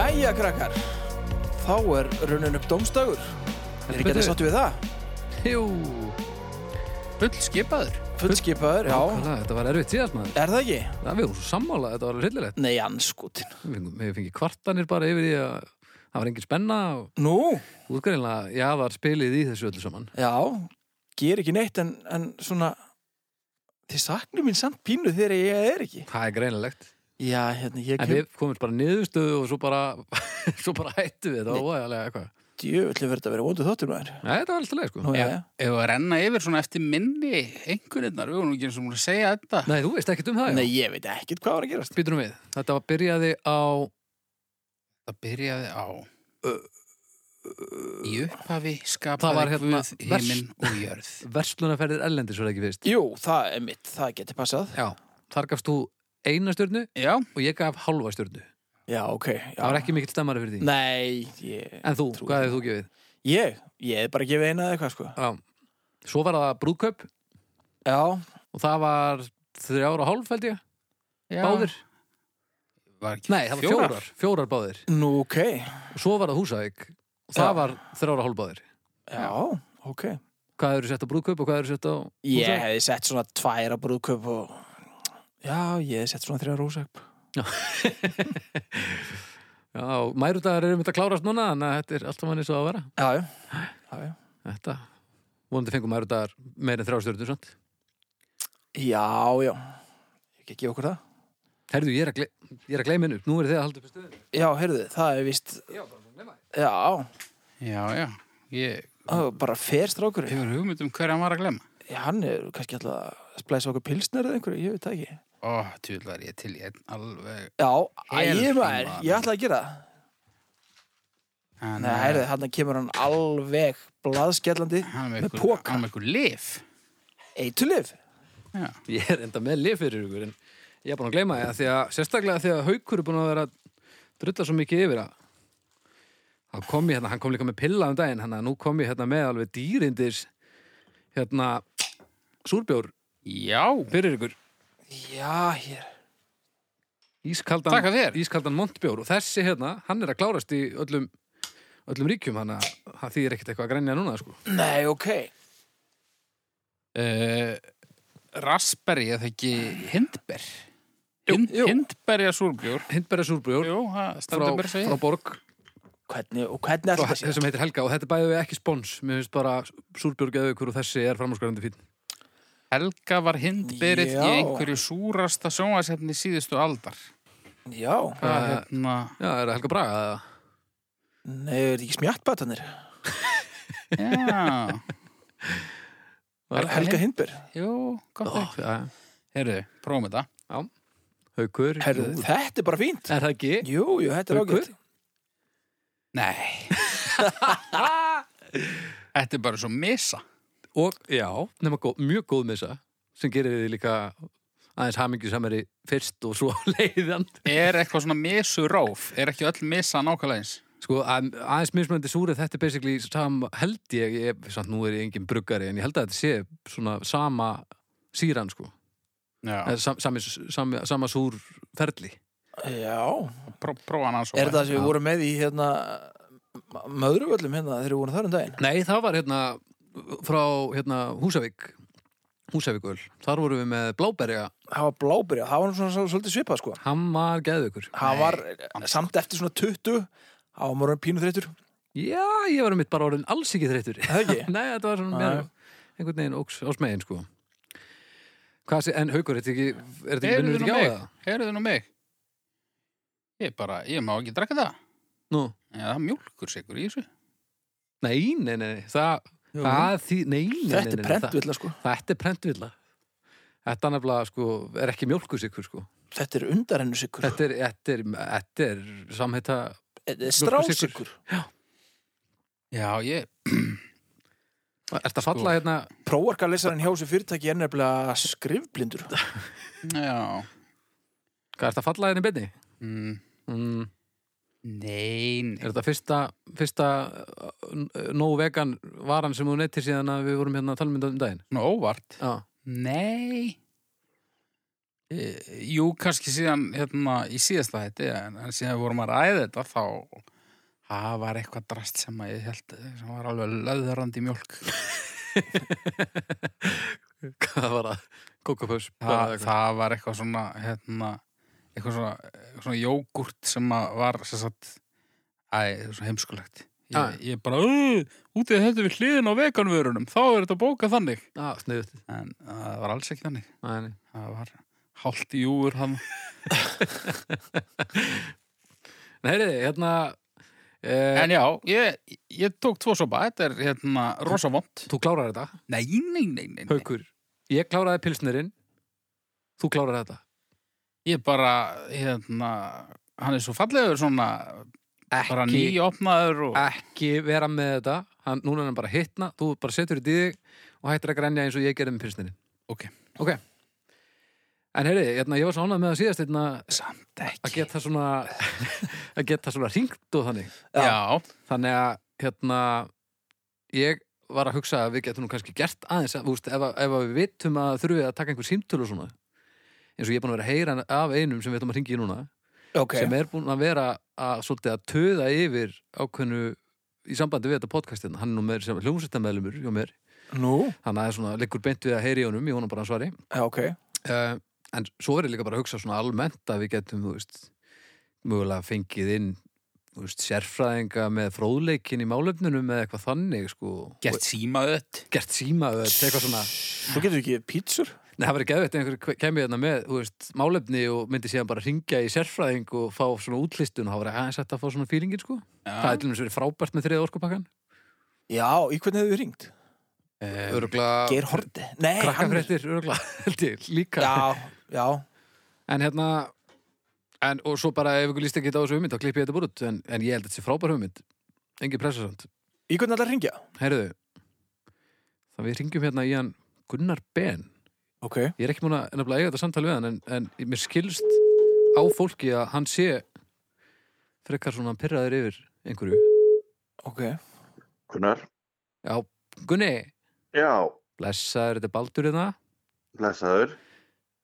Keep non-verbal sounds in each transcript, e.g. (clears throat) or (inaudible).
dagar þá er runnin upp dómstagur er Heldur ekki betur. þetta sattu við það? Jú, full skipaður. fullskipaður, já, Nákvæmlega, Þetta var erfitt síðast maður. er það ekki? Það við vorum svo sammála, þetta var alveg hryllilegt. Nei, anskutin Við fengum- Við fengið kvartanir bara yfir því að það var engin spenna og Nú, útgæðinlega jaðar spilið í þessu öllu saman. já, ger ekki neitt en, en svona þið saknum mín samt pínu þegar ég er ekki Það er greinilegt. Já, hérna, ég En kem við komumst bara niðurstöðu og svo bara, (laughs) svo bara hættu við þetta og óæðarlega eitthvað. djöfulli verið að vera vondu þáttur maður Nei, þetta var alltaf leið sko. Nú, já, Já. já, Ef við að renna yfir svona eftir minni einhverjarnar, við vorum ekki eins og múin að segja þetta. Nei, þú veist ekkert um það. Nei, já. ég veit ekkert hvað var að gerast Býtum við. Þetta var byrjaði á, Það byrjaði á Í upphafi Það var skapaði hérna Guð heiminn og jörð verslunarferðir Erlendis var það ekki fyrst. Jú, það er mitt, það geti passað Já. Þar gafst þú eina stjörnu Já, og ég gaf hálfa stjörnu. Já, ok já. Það var ekki mikill stemmari fyrir því. Nei, ég, En þú, Trúi hvað því. hefði þú gefið? ég, ég er bara að gefa eina eða eitthvað sko Já. Svo var það brúðkaup Já, og það var þrjára og hálf held ég, já. báðir. Var ekki Nei, það var fjórar. fjórar, báðir. nú, ok Og svo var það húsavík og það Já. var þrjára og hálf báðir. Já, ok Hvað eru sett á brúðkaup og hvað eru sett á Ég húsavík? hefði sett svona tværa brúðköp og já, ég hefði sett svona þrjá rúsöp. Já, mærudagar eru mynd að klárast núna, þannig að þetta er allt saman eins og það á að vera. Já, já. já, já. Þetta, vonandi fengum mærudagar meira en þrjástjörnum, svont. Já, já. Ég ekki gefa okkur það. Herðu, ég er að, gle ég er að gleyma hennu, nú er þið að halda upp í stöðinu. Já, heyrðu, það er víst, Já, bara að gleyma þið. já, Já, já, ég það var bara fer strákur. hefur hugmynd um hverja hann var að glemma Já, hann er kannski alltaf að splæsa okkur pilsner eða einhverju, ég veit það ekki. Ó, tjúl var ég til ég alveg Já, Helvítið ægir maður, maður. ég ætla að gera það. Hann Nei, heyrðu, hann kemur hann alveg blaðskjallandi hann er með með ykkur, póka. hann er með ykkur lif Eitulif. Já, Ég er enda með lið fyrir ykkur, en ég er búin að gleyma því að því að, sérstaklega því að haukur er búin að vera að drulla svo mikið yfir að þá kom ég hérna, hann kom líka með pilla um daginn, hann að nú kom ég hérna með alveg dýrindis hérna súrbjór já, fyrir ykkur, Já, hér. ískaldan, Þakka þér. ískaldan montbjór og þessi hérna, hann er að klárast í öllum, öllum ríkjum, hann að það þýðir ekkert eitthvað að grænja núna, sko. Nei, ok. uh, raspberry eða ekki hindber Jú, Hind, jú. Hindberja súrbjór Hindberja súrbjór Jú, það frá, stendur bara að segja frá Borg Hvernig, og hvernig frá, alltaf sé? sem heitir Helga og þetta bæði við ekki spons, mér finnst bara súrbjór geðugur og þessi er framhúsgarandi fín. Helga var hindberið Já. í einhverju súrasta sjónvarsefni síðustu aldar Já. Hvað Eh, hérna Já, er það Helga Braga eða? Nei, er þetta ekki smjattbatanir? Já, Var- Helga Hindberg jú, gott Ó, ekki já, já. Herðu, prófum þetta Haukur Herðu, Jú. þetta er bara fínt Er það ekki? Jú, jú, þetta er Haukur? ágætt (laughs) Nei Þetta er bara svo missa Og já, nema gó, mjög góð með þessa sem gerir þið líka aðeins hamingi samari fyrst og svo (laughs) leiðand Er eitthvað svona missu róf? Er ekki öll missa nákvæmlega eins? Sko, að, aðeins mismunandi súrið þetta er basically sam, held ég, ég samt nú er ég engin bruggari en ég held að þetta sé svona sama síran sko Já, eða sam, sami, sami, sama súr ferli Já, pró, prófa hann aðeins og er það sem við Já. vorum með í hérna m- Möðruvöllum hérna þegar við vorum þar um daginn Nei, það var hérna frá hérna Húsavík Húsavíkul, þar vorum við með bláberja Það var blábyrja, það var nú svona svo- svolítið svipað sko hann var geðveikur Það var eh, hann- samt eftir svona 20 Það var morgun pínu þreytur Já, ég var um mitt bara orðin alls ekki þreyttur. Það ekki? (laughs) Nei, þetta var Nei. svona mér einhvern veginn óks á smegin, sko. Hvað sé, en haukur, er þetta ekki, er þetta ekki Heyrðu vinnur nú þetta ekki á mig, það? heyrðu nú mig Ég bara, ég má ekki drakka það Nú, Já, það er mjólkur sigur í þessu nei, nei, nei, nei, það, Jú. það því, nei, nei, nei, Þetta nei, er nei, prentvilla sko það- Þetta er prentvilla. Þetta er nefnilega, sko, er ekki mjólkusikur, sko. Þetta er undarennu sikur Þetta er, þetta er, þetta er samheita, Þetta er mjólkursykur. strásikur Já, ég er Sko. þetta falla hérna, Próarkalesarinn hjá þessu fyrirtæki er nefnilega skrifblindur Já hvað er þetta falla hérna í beinni? mm, Mm, Nei, nei er þetta fyrsta, fyrsta uh, nóg vegan varan sem hún eittir síðan að við vorum hérna að tala um þetta um daginn? Nú, óvart Já. Nei e, Jú, kannski síðan hérna, í síðasta hætti en en síðan við vorum að ræða þetta þá Það var eitthvað drast sem að ég held sem var alveg löðrandi (laughs) mjólk. Hvað var það? Kókapöps Það, það var eitthvað svona, hérna, eitthvað svona, eitthvað svona jógurt sem að var, sem sagt, æ, það er svona heimskulegt. Já. Ég, ég bara, "Ugh, út í þetta við hliðin á veganvörunum, þá er þetta bókað þannig. Já, sniðut En það var alls ekki þannig. Næ, Það var hálft í júur hann. heyriði, hérna eh, En já, ég, ég tók tvo sopa, þetta er hérna rosa vond. Þú klárar þetta, Nei, nei, nei, nei. nei. haukur Ég kláraði pilsnerinn Þú klárar þetta Ég bara, hérna, hann er svo fallegur svona, bara Ekki, nýopnaður og... ekki vera með þetta hann, Núna er hann bara að hitna, þú bara setur þetta í þig og hættir að grænja eins og ég gerði með pilsnerinn Ok. Ok En heyriði, hérna, ég var svo ánægð með að síðast hérna, Samt að ekki. geta svona (laughs) að geta svona ringt og þannig Já. Já, þannig að hérna ég var að hugsa að við getum nú kannski gert aðeins að, þú veist, ef, að- ef að við vitum að þurfið að taka einhver símtöl og svona eins og ég er búin að vera að heyra af einum sem við ætlum að ringa í núna Ok. sem er búin að vera að svolítið að töða yfir ákveðnu í sambandi við þetta podcastin hann er nú með sem hljómsveitamælumur hjá mér Nú, þannig að það er svona liggur beint við að heyri honum í honum bara að svari já, ok. uh, en svo verður líka bara að hugsa svona almennt að við getum, þú veist mögulega fengið inn þú veist, sérfræðinga með fróðleikin í málefnunum eða eitthvað þannig sko gert símaðött. Og gert símaður, eitthvað svona Þú getur ekki pítsur? Nei, það verður geðvægt einhver kemur hérna með, þú veist, málefni og myndi síðan bara ringja í sérfræðing og fá svona útlistun og það verður aðeins hægt að fá svona fílingin sko það er til dæmis verið frábært með þriða orkupakkan Já, í hvernig hefur við ringt? örugla, Geir Horti. Nei, krakkafréttir, örugla (laughs) held ég, líka Já, já. En hérna en, Og svo bara ef ykkur líst ekki á þessu hugmynd þá klippi ég þetta bara út en, en ég held að þetta sé frábær hugmynd Engi pressasand Í hvernig ætlar að ringja? Heyrðu Það við ringjum hérna í hann Gunnar Ben Ok. Ég er ekki múin að nefnilega eiga þetta samtal við hann en, en mér skilst á fólki að hann sé frekar svona pyrraður yfir einhverju Ok. Gunnar? Já, Gunni Já, Blessaður, þetta er Baldur hérna blessaður.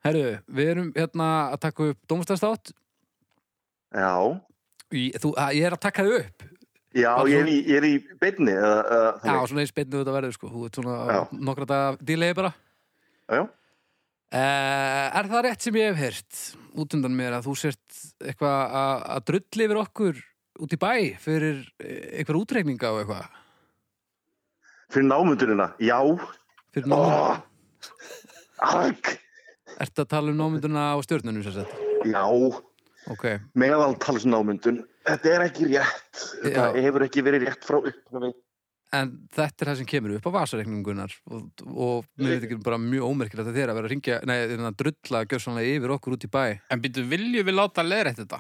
Herðu, við erum hérna að taka upp Dómastæðstátt Já, Ég er að taka þau upp já, Bara ég er í, ég er í beinni. eða, eða Já, þannig. svona eins beinnu þetta verður sko Þú ert svona Já. á nokkra daga delay bara já, já. uh, Er það rétt sem ég hef heyrt út undan mér að þú sért eitthvað að að drulli yfir okkur út í bæ fyrir eh, einhver útreikninga og eitthvað Fyrir námundunina, já. fyrir námynd, Ó, Arg, ertu að tala um námynduna á stjörnunum sér sett já, Ok, meðaltalsnámundun. Þetta er ekki rétt. Þetta Já. hefur ekki verið rétt frá upphafi. en þetta er það sem kemur upp á vasareikningunar og, og mér veit ekki bara mjög ómerkilegt að þér að vera að ringja, nei, þarna að drulla gjörsanlega yfir okkur út í bæ En byrju, viljum við láta leiðrætt þetta?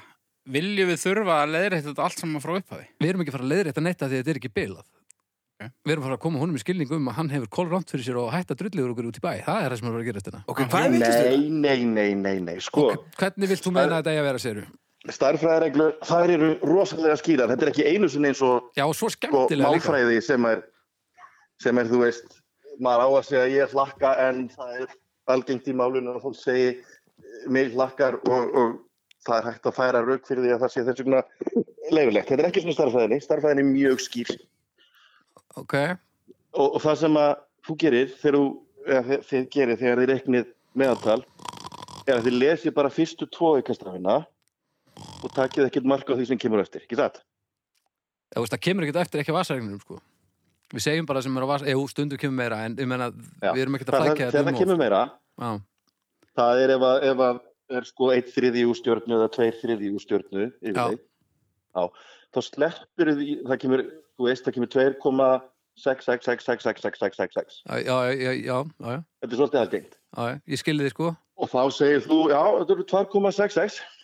Viljum við þurfa að leiðrætt þetta allt saman frá upphafi? við erum ekki að fara að leiðrétta neitt af því að þetta er ekki bilað Ok. við erum að fara að koma honum í skilningu um að hann hefur kolrönt fyrir sér og hætta drullegur okkur út í bæ það er það sem er að fara að gera þetta Ok, hvað er vikist þér? Nei, nei, nei, nei, nei, sko. hvernig vilt þú meina þetta eigi að vera séru? Stærfræðareglur, þær eru rosalega skýrar. Þetta er ekki einu sinni eins og já, svo sko, skemmtilega líka málfræði sem er, sem er, þú veist, maður á að segja ég hlakka en það er algengt í málunum að fólk segi eh, mig hlakkar og, og það er hægt að færa rauk fyrir því að það sé þessu svona leifilegt. Þetta er ekki svona starfræðinni, starfræðinni er mjög skýr ok, og, og það sem að þú gerir þegar þú, eða þið, þið gerir þegar þið reknið meðaltal er að þið lesið bara fyrstu tvo aukastafina og takið ekkert mark á því sem kemur eftir, ekki satt? þú veist, það kemur ekkert eftir ekki að vasareikninum sko. við segjum bara sem er að vasareikninum jú, stundu kemur meira, en ég meina Já. við erum ekkert að Það- það- flækja Þegar það kemur meira, um of. Það er ef að, ef að er sko eitt þriði úr stjórnu eða tveir þriði úr stjórnu yfir Já. þeim. Já. Þá sleppur því, það kemur, þú veist, það kemur 2,6666666. já, já, já, já, já, já, Þetta er svolítið algengt. já, já ég skilði þið sko Og þá segir þú, já, þetta eru 2,66, já,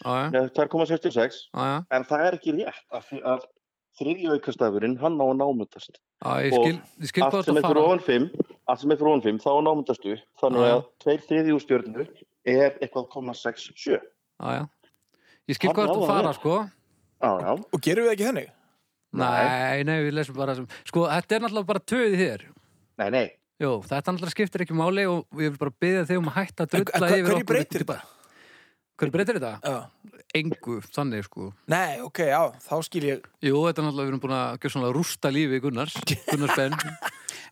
já, eða 2,66, já, já, en það er ekki rétt af því að þriðju aukastafurinn, hann á að námyndast. já ég Og skil, ég skil Allt hvað sem þetta er fyrir fara ofan 5, allt sem er fyrir ofan 5, þá námyndast þú. Þannig Já. að tveir þriðju úr stjórnu er eitthvað já, 0,67. já, ég skil Þarna hvað var þetta það. fara sko Já, já. Og gerum við ekki þannig? Nei, nei, við lesum bara sem Sko, þetta er náttúrulega bara töð í þér Nei, nei. Jó, þetta náttúrulega skiptir ekki máli og ég vil bara byggja þig um að hætta að En, en hva- drulla yfir hverju okkur breytir þetta? Hver breytir þetta? Já. Engu, þannig sko Nei, ok, já, þá skil ég Jú, þetta er náttúrulega, við erum búin að gjöra svona rústa lífi Gunnars, Gunnars (laughs) Ben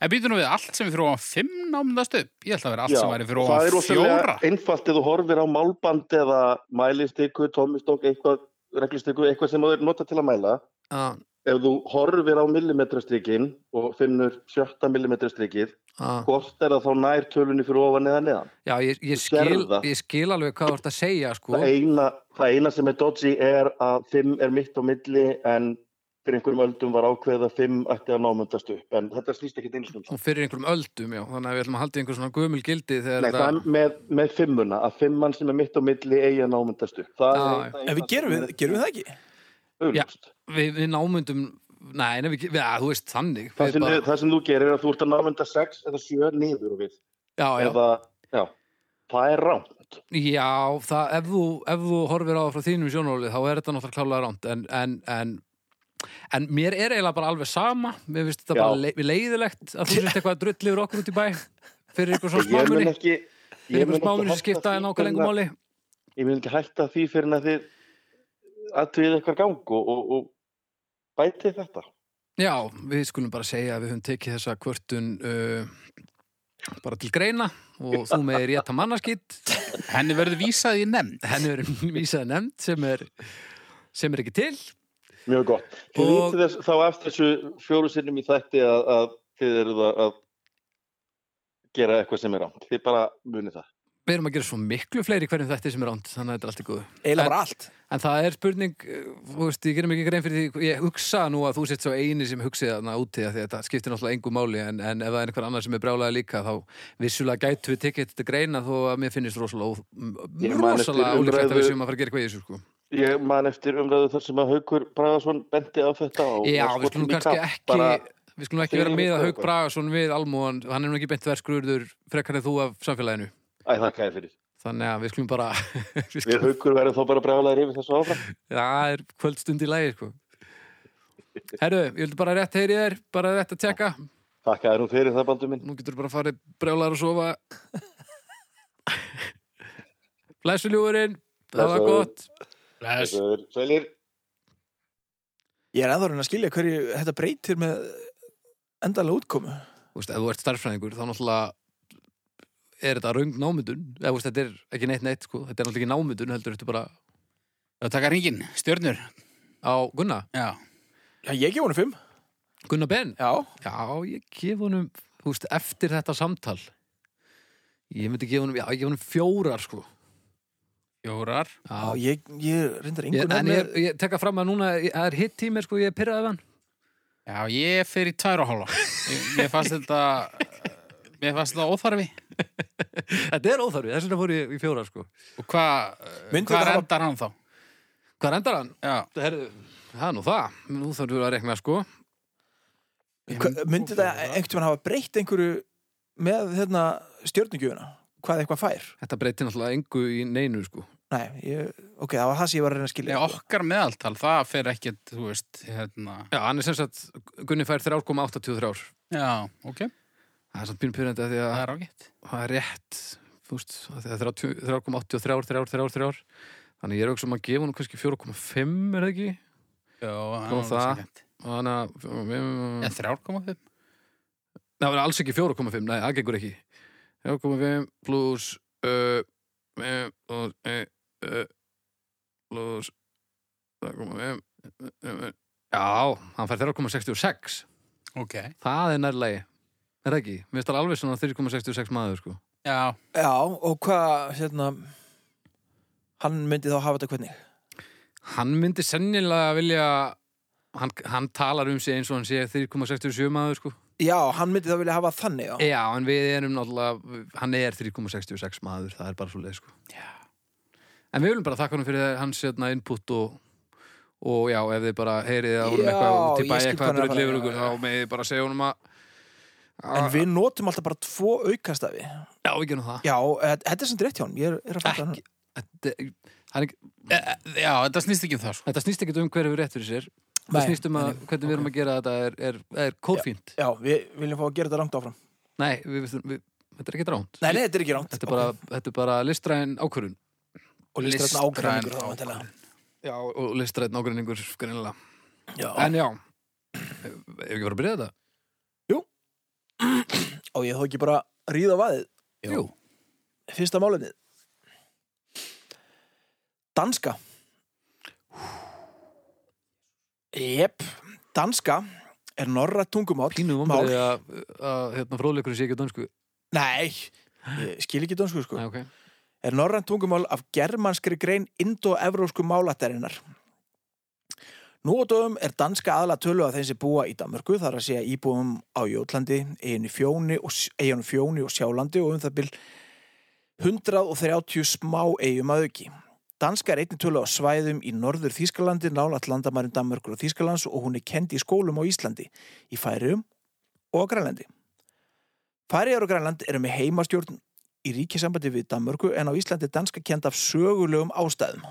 En býtum við allt sem við fyrir ofan fimm námdast upp. Ég ætla að vera allt sem væri fyrir það er ofan fjóra. einfalt eða þú horfir á málband eða mælistiku, tómistokk, eitthvað, reglustiku, eitthvað sem þú er notað til að mæla. Já, Ef þú horfir á millimetrastrikinn og finnur sjötta millimetrastrikið, já. hvort er það þá nær tölunni fyrir ofan eða neðan? Já, ég, ég, Sérðu skil, það? ég skil alveg hvað þú ert að segja sko. Það eina, það eina sem er dodgy er að 5 er mitt á milli en fyrir einhverjum öldum var ákveðið að 5 ætti að námöndast upp en þetta snýst ekki einstum um það. og fyrir einhverjum öldum, já þannig að við ætlum að halda í einhver svona gömul gildi þegar Nei, það er með, með fimmuna, að fimmann sem er mitt á milli eigi að námöndast upp. Það Já, er já. eina- En við gerum, við, gerum við það ekki? augljóst. við, við námyndum nei, nei við, við, að, þú veist þannig Það Við sem, bara, þið- það sem þú gerir er að þú ert að námönda 6 eða 7 niður og við. já, já, Eða, já, það er rámt. já það, ef, þú, ef þú horfir á það frá þínum sjónólið þá er þetta náttúrulega klálega ránt en, en, en, en mér er eiginlega bara alveg sama mér finnst þetta Já. bara le, leiðilegt að þú sést eitthvað drull yfir okkur út í bæ fyrir einhver svona Ég mun smámunni ekki... fyrir einhver mun ekki smámunni sem hætta skipta því en ákveð fyrr en lengum að- máli ég vil ekki hætta því fyrir en að þið aðtöðið eitthvað gang og, og, og bætið þetta. já, við skulum bara segja að við höfum tekið þessa kvörtun uh, bara til greina og þú meðir ég að ta mannaskitt Henni verður vísað í nefnd. henni verið vísað nefnd sem er, sem er ekki til Mjög gott. Þið Og- vitið þess, þá eftir þessu fjóru sinnum í þætti að, að þið eruð að, að gera eitthvað sem er rámt. Þið bara munið það. við erum að gera svo miklu fleiri í hverjum þetta sem er ánd þannig að þetta er allt í góðu Eila En- bara allt en það er spurning, eh, þú veist, ég gerum ekki grein fyrir því ég hugsa nú að þú sett svo eini sem hugsið þarna úti af því að þetta skiptir náttúrulega engu máli en, en ef það er einhver annar sem er brjálega líka þá vissulega gætu við tekið þetta til greina þó að mér finnist rosalega, ó- m- Ég man eftir rosalega ólíklegt að umræðu- við séum að fara að gera eitthvað í þessu sko. Ég man eftir umræðu þar sem að Haukur Bragason bendi á þetta og já, og við skotum skulum í kannski kapp, ekki bara, við skulum ekki fyrir vera með að eitthvað. Haug Bragason við Almúan, hann er nú ekki beint verskrurður frekar en þú af samfélaginu Æ, þakka ég fyrir. þannig að við skulum bara (laughs) við Við skulum, Haukur verðum þá bara brálaðir yfir þessu áfram. það er kvöldstund í lagi sko. herru, ég vildi bara rétt heyri þér bara rétt að tjekka Þakka þér nú fyrir það, Baldur minn. nú getur bara farið brjálar og sofa Blessu ljúurinn það var Blessaður. gott Bless. Þessu er Sælir. Ég er ennþá að reyna að skilja hverju þetta breytir með endalega útkomu Þú veist, ef þú ert starffræðingur þá náttúrulega er þetta röng námyndun eða þú veist, þetta er ekki neitt neitt sko. þetta er náttúrulega ekki námyndun heldur þetta bara Það taka ringin, stjörnur. á Gunna, Já. Já, ég gef honum fimm Gunna Ben Já, já, ég gef honum þú veist, eftir þetta samtal ég myndi gefa honum, já, ég gef honum fjórar sko. Fjórar. já ég, ég reyndar Ég, einhvern en veginn ég, með ég tekka fram að núna ég- það er hitt tími, sko, ég er pyrraðið hann Já, ég fer í tvær og hálfa. Ég- Mér fannst þetta, eh, mér fannst þetta óþarfi. Þetta er óþarfið, þess vegna fór ég í fjóra sko. Og hvað, Myndi hvað þetta hafa- rendar hann þá? Hvað rendar hann? Já. Herðu, það er nú það, nú þarfum við að rekna sko. Hva- Myndi þetta einhvern veginn hafa breytt einhverju með hérna, stjörnugjöfuna hvað eitthvað fær? Þetta breytir náttúrulega engu í neinu sko. Nei, ég, ok, það var það sem ég var að reyna að Nei, skilja okkar meðaltal, það fer ekkert, þú veist, hérna. Já, hann er sem sagt, Gunni fær 3,83 Já, ok. Það er samt pínum pyrrandi að því að Það er ágætt. það er rétt þú veist, af því að 30 3,83 3, 3, 3 Þannig ég er auðvitað sem að gefa hann kannski 4,5 er það ekki? Já, Sko, alveg það- sanngjarnt. Þannig að Já, 3,5. Nei, það er alls ekki 4,5, nei, það gengur ekki 4,5 pluss uh, eh, pluss uh, uh, pluss 3,5 eh, eh, Já, hann fær 3,66 Ok. Það er nærlegi Er það ekki? Mér finnst það alveg svona 3,66 maður sko. Já, Já, og hvað hérna, hann myndi þá hafa þetta hvernig? Hann myndi sennilega vilja hann, hann talar um sig eins og hann sé 3,67 maður sko. Já, hann myndi þá vilja hafa það þannig, já. Já, en við erum náttúrulega, hann er 3,66 maður, það er bara svo leið, sko. Já. En við viljum bara þakka hann fyrir hans hérna, input og, og já, ef þið bara heyrið að honum Já, eitthvað út ég í skil bæ hvað eitthvað hann er að drull yfir fara, já, okkur, já. þá meðið bara segja honum að En við notum alltaf bara tvo aukastafi. Já, ekki nú það. Já, e- þetta er sem dreitt hjá hann, ég er, er að fatta hann. Ekki, þetta, hann, er- Eh, já þetta snýst ekki um það, sko. þetta snýst ekki um hverju við rétt fyrir sér. Nei, Það snýst um að nei, hvernig við erum að gera þetta er, er, er kófínt. Já, við viljum fá að gera þetta rangt áfram. Nei, við, við, við, þetta er ekki dránt. Nei, nei, þetta er ekki rangt. Þetta er bara, þetta er bara listræn ákvörun. og hérna listrætna ágræningur þá vantilega. Já, og listrætt nágrinningur greinilega. Já, En já, ef ekki fara að byrja þetta? og ég þó ekki bara að ríða á vaðið. Jú. Jú. Fyrsta málefnið. Danska. Jep, danska er norra tungumál. Pínu Mál. vombrið að, að hérna, fróðleikurinn sé ekki á dansku. Nei, ég skil ekki dansku sko. Nei, ok. er norrænt tungumál af germanskri grein indo-evrósku málattarinnar. Nú og dögum er danska aðla tölu að þeim sem búa í Danmörku þar að segja íbúum á Jótlandi, eiginu fjóni og, eiginu fjóni og sjálandi og um það byrj 130 smá eigum að auki. Danska er einnig tölu á svæðum í norður Þýskalandi, nálat landamærum Danmörkur og Þýskalands og hún er kend í skólum á Íslandi, í Færium og á Grænlandi. Færiðar og Grænland eru með heimastjórn í ríkisambandi við Danmörku en á Íslandi er danska kend af sögulegum ástæðum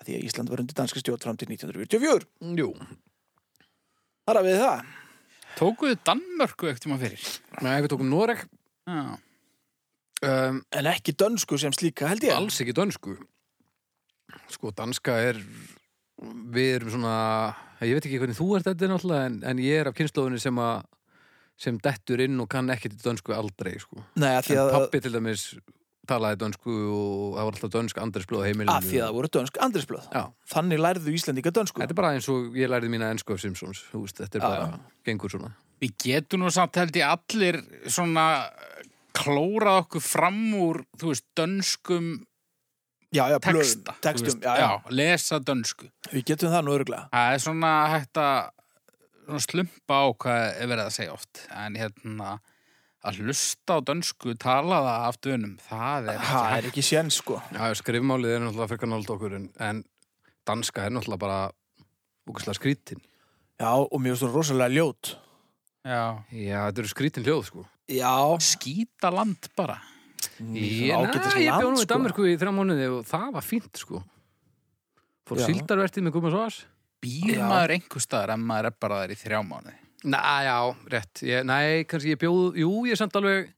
að því að Ísland var undir danska stjórn fram til 1944 Jú. þar að við það Tókuðu Danmörku ekkert tíma fyrir? Nei, við tókum Noreg. Já. Um, en ekki dönsku sem slíka held ég alls ekki dönsku. Sko, danska er, við erum svona, ég veit ekki hvernig þú ert þetta náttúrulega, en, en ég er af kynnslóðinni sem að, sem dettur inn og kann ekki til dönsku aldrei, sko. Nei, að því En að, pappi til dæmis talaði dönsku og það var alltaf dönsk andresblóð heimilinu. að því að það voru dönsk andrisblöð Já, þannig lærðu Íslandinga dönsku þetta er bara eins og ég lærið mína ennsku af Simpsons, þú veist, þetta er Já, bara, gengur svona. Við getum nú samt held ég allir svona eh, klórað okkur fram úr, þú veist, dönskum já, já, blöðum, texta. þú textum veist. já, já. lesa dönsku. við getum það nú öruglega Það er svona hægt að svona slumpa á hvað er verið að segja oft. En hérna, að hlusta á dönsku, tala það af dönum, það er það er ekki sén sko Já, já, skrifmálið er náttúrulega frekar nált okkur en, en danska er náttúrulega bara úkislega skrítin. já, og mér er svona rosalega ljót Já. Já, þetta eru skrítin hljóð, sko. já, Skýta land bara. Ég, na, ágætis ég land, bjóð nú í sko. Danmarku í þrjá mánuði og það var fínt, sko. Fór Já. síldarvertið með Guðmars Vás? Býr Já. maður einhver staðar en maður er bara þær í þrjá mánuði. Næ, já, rétt. Ég, nei, kannski ég bjóð, jú, ég samt alveg,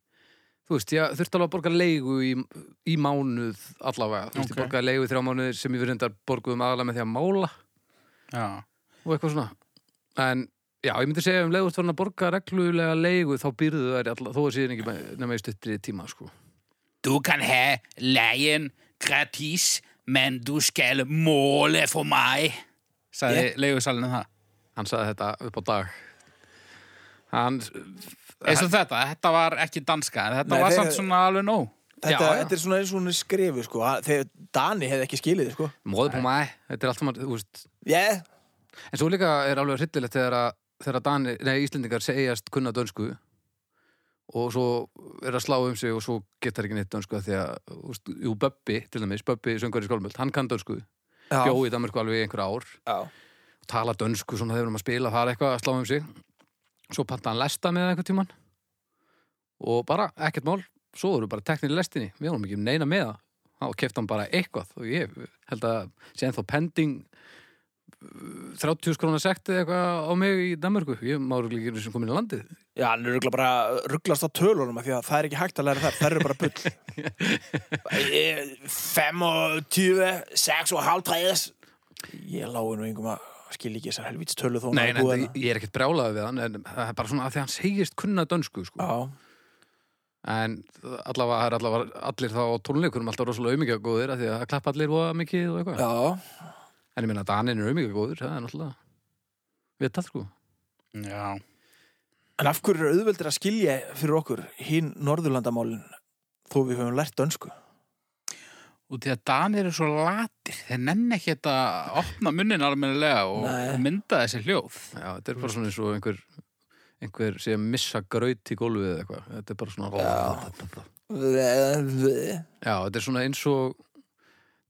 þú veist, ég þurfti alveg að borga leigu í, í mánuð allavega. Þú veist, Ok. ég borgaði leigu í þrjá mánuði sem ég verðindar borguðum aðalega með því að mála Já. og eitthvað svona. En, já, ég myndi segja um leigu þú að borga reglulega leigu þá býrðu þær allavega, þó að síðan ekki með- nema í stuttri tíma, sko. Du kan ha lejen gratis, men du skal måle for mig. Sagði yeah. leigusalinn það. Hann sagði þetta upp á dag. Hann, Eins og þetta, þetta var ekki danska, en þetta Nei, var þeir- samt svona alveg nóg. þetta, Já, já. þetta er svona eins og hún er skrifu sko að- þegar Dani hefði ekki skilið þig, sko móðu på mig, þetta er allt saman, þú veist, yeah. En svo líka er alveg hryllilegt þegar að þegar að Dani, nei, Íslendingar segjast kunna dönsku og svo er að slá um sig og svo getur ekki neitt dönsku af því að, úst, jú, Böbbi til dæmis, Böbbi söngur í skólmöld, hann kann dönsku já, bjó í Danmarku alveg í einhver ár já. og tala dönsku svona þegar um að spila, það er eitthvað að slá um sig svo panta hann lesta með einhvern tíman og bara ekkert mál svo eru bara teknir í lestinni, við erum ekki um neina með það þá kefti hann bara eitthvað og ég held að sé ennþá pending uh, 30 krónar sekt eða eitthvað á mig í Danmarku ég má örugglega ekki sem komin í landið Já, hann er örugglega bara rugglast á tölunum af því að það er ekki hægt að læra það, það eru bara (laughs) bull 25, 6 og halv 3 Ég lái nú einhverjum að skil ekki þessar helvíts tölu þó hún nei, hafi nei, búið ég, ég er ekkert brjálaði við hann en það er bara svona að því að hann segist kunna dönsku sko. hana. en allavega, það er allavega allir þá á tónleikunum alltaf rosalega auðmyggja góðir því að það klappa allir og mikið og eitthvað Já, já En ég minna að Danin er auðvitað góður, það er náttúrulega vitað sko. Já. En af hverju er auðveldir að skilja fyrir okkur hinn norðurlandamálin þó við höfum lært dönsku? Út í að danir eru svo latir, þeir nenni ekki þetta að opna munnin almennilega og, Nei. og mynda þessi hljóð. Já, þetta er bara svona eins og einhver, einhver sé að missa graut í gólfið eða eitthvað. Þetta er bara svona... Já. Já, þetta er svona eins og...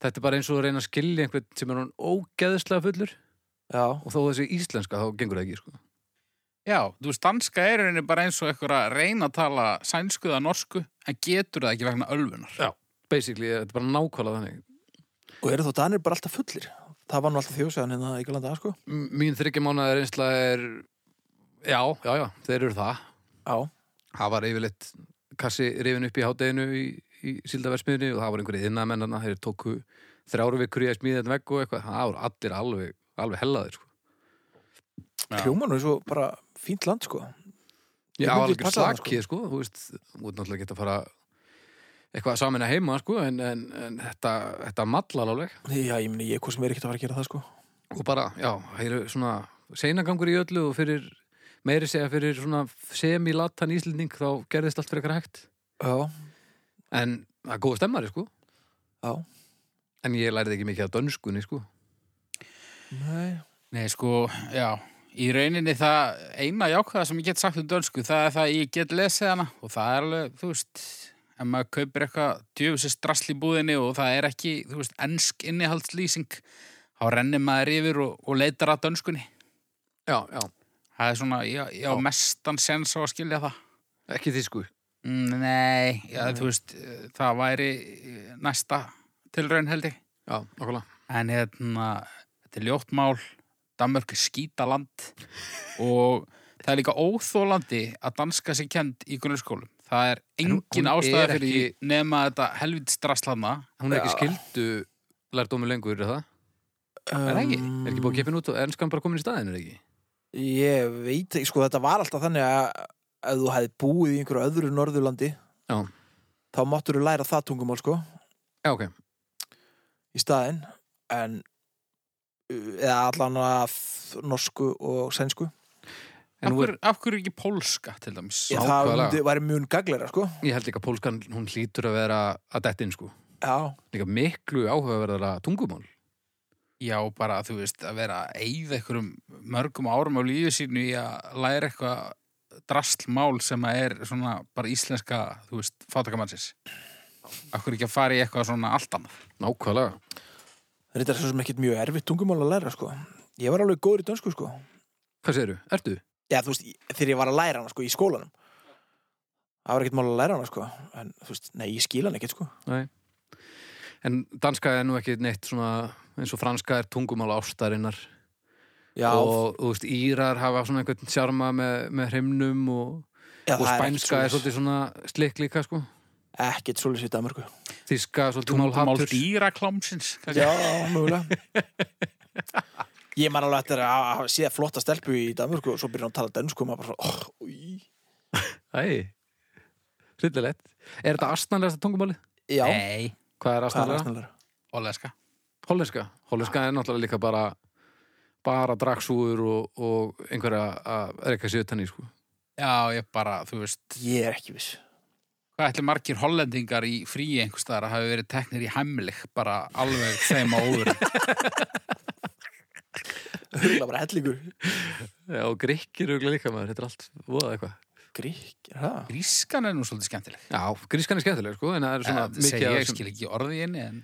Þetta er bara eins og að reyna að skilja einhvern sem er hann ógeðislega fullur og þó þessi íslenska þá gengur það ekki, sko. Já, þú veist, danska er í rauninni bara eins og ekkur að reyna að tala sænsku eða norsku, en getur það ekki vegna ölfunar. Já. Basically, þetta er bara nákvæmlega þannig. og eru þó Danir bara alltaf fullir? Það var nú alltaf þjóðsæðan hérna í Galanda, sko? M- Mín þryggjamánaðar einsla er... Já, já, já, þeir eru það. Já, Það var yfirleitt kassi rifin upp í hádeginu í, í síldaversmiðinu og það voru einhverjir innamennana, þeir tóku þrjáru vikur í að smíða þetta vegg og eitthvað, það voru allir alveg, alveg hellaðir sko. Hljóma nú svo bara fínt land sko Ég Já, myndi alveg passa það, slakið sko, þú veist, þú veist náttúrulega geta að fara eitthvað að samina heima sko, en, en, en þetta, þetta mallar alveg sko. Já, ég meni, ég hvort sem er ekkert að fara að gera það sko og bara, já, það eru svona seinagangur í öllu og fyrir meiri segja fyrir svona semilatan íslending þá gerðist allt fyrir eitthvað hægt Já, en það er góð stemmari sko já, en ég lærið ekki mikið af dönskunni sko nei Nei, sko, já, í rauninni það eina jákvæða sem ég get sagt um dönsku, það er það að ég get lesið hana og það er alveg, þú veist, ef maður kaupir eitthvað djöfusins drasl í búðinni og það er ekki, þú veist, ensk innihaldslýsing, þá rennir maður yfir og, og leitar að dönskunni. já, já, Það er svona, já, já, mestan sens á að skilja það. ekki þísku Mm, Nei, já, þú veist, eh, það væri eh, næsta tilraun held ég. já, okkurlega En hérna, þetta er ljótt mál, Danmörk er skítaland og það er líka óþólandi að danska sé kend í grunnskólum. Það er hún- engin hún ástæða er fyrir ekki- ekki... nema þetta helvitstrasslana. hún er ekki skildu lærdómi lengur er það? Er það ekki? er ekki búið að keppin út og enskan bara komin í staðin er ekki? Um, Ég veit ekki, sko þetta var alltaf þannig að ef þú hefði búið í einhverju öðru Norðurlandi Já. þá máttur þú læra það tungumál sko já, ok, í staðinn en uh, eða allan að norsku og sænsku en hún Af er, hverju, af hverju ekki pólska til dæmis? ég, það nákvæmlega. myndi, væri mjög gaglera sko ég held líka að pólskan hún hlýtur að vera að dettin sko já, líka miklu áhugaverðara tungumál Já, bara þú veist að vera að eyða einhverjum mörgum árum á lífi sínu í að læra eitthvað drastlmál sem að er svona bara íslenska, þú veist, fátakamannsins. Af hverju ekki að fara í eitthvað svona allt annað? nákvæmlega þetta er svo sem ekkert mjög erfitt tungumál að læra sko ég var alveg góður í dönsku sko hvað segirðu? Ertu? já, þú veist, ég- þegar ég var að læra hana sko í skólanum það var ekkert mál að læra hana sko en þú veist, nei, ég skil hann ekkert sko En danska er nú ekki neitt svona eins og franska er tungumál ástarinnar já, og þú veist, Írar hafa svona einhvern sjarma með, með hreimnum og, já, það og ekkert spænska er svoleiðis. svolítið svona slikk líka sko ekkert svolítið í Danmarku Þíska er svolítið tungumál málhattur dýraklámsins kannski. já, mögulega ég man alveg eftir að hafa séð flotta stelpu í Danmarku og svo byrja hún að tala dönsku og maður bara svona, oh, í. Æ, hryllilegt Er þetta astanlegasta tungumáli? já, Nei, Hvað er hvað er astanlegasta? aðsnaðlega óleska Hollenska Hollenska er náttúrulega líka bara bara draksúður og, og einhverja að reyka sér utan í sko Já, ég bara, þú veist Ég er ekki viss Hvað ætli margir hollendingar í fríi einhverstaðar að hafi verið teknir í hemmelig bara alveg þeim á óður (laughs) Hurla bara hellingur Já, og grikkir eru líka maður, þetta er allt voða eitthvað Grík, er það? Grískan er nú svolítið skemmtileg Já, grískan er skemmtileg sko en það er svona Svona, segi af ég þessum- skil ekki orðið í henni en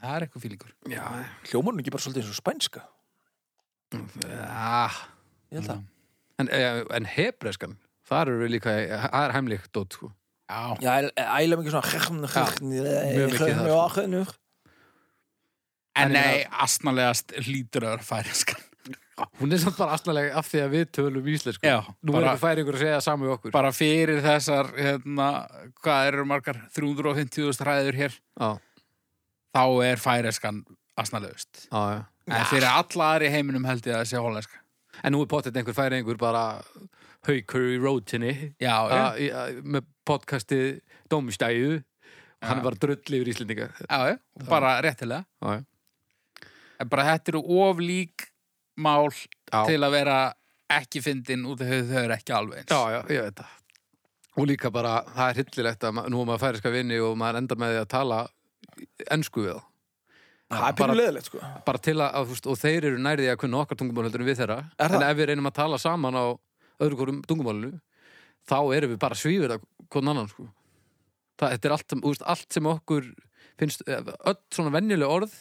það er eitthvað fílingur Já, Hljómar hún ekki bara svolítið eins og spænska ah, Ég held það en, eh, en hebreskan þar eru við líka, það er heimlíkt dót sko. Já, Já, æ- æla mikið svona Já, mjög mikið það, sko. það en En eh, ég nei, astnalegast hlýtur að vera færiskan hún er samt bara astalega af því að við tölum íslensku Já, nú bara- er ekki færi ykkur að segja það saman við okkur bara fyrir þessar hérna, hvað eru margar 350.000 ræður hér já, þá er færiskan astnalegust já, já. en fyrir alla aðri heiminum held ég að það sé hollenska en nú er pottet einhver færi einhver bara haukur í rótinni Já, já, að- í- að- með podcastið Dómstæðu hann Já. var drull yfir Íslendinga Já, já, og bara réttilega. Já, já. En bara þetta eru of lík mál Já. til að vera ekki fyndin út af því þau eru ekki alveg eins. já, já, ég veit það og líka bara, það er hryllilegt að ma- nú er maður færiska vinni og maður endar með því að tala ensku við þá er pínu leðilegt sko bara til að, að þú veist, og þeir eru nærðið að kunna okkar tungumál heldur en við þeirra Er en það? ef við reynum að tala saman á öðru hverjum tungumálinu þá erum við bara svífur að hvern annan sko. það, þetta er allt, sem- þú veist, allt sem okkur finnst, eh, öll svona venjuleg orð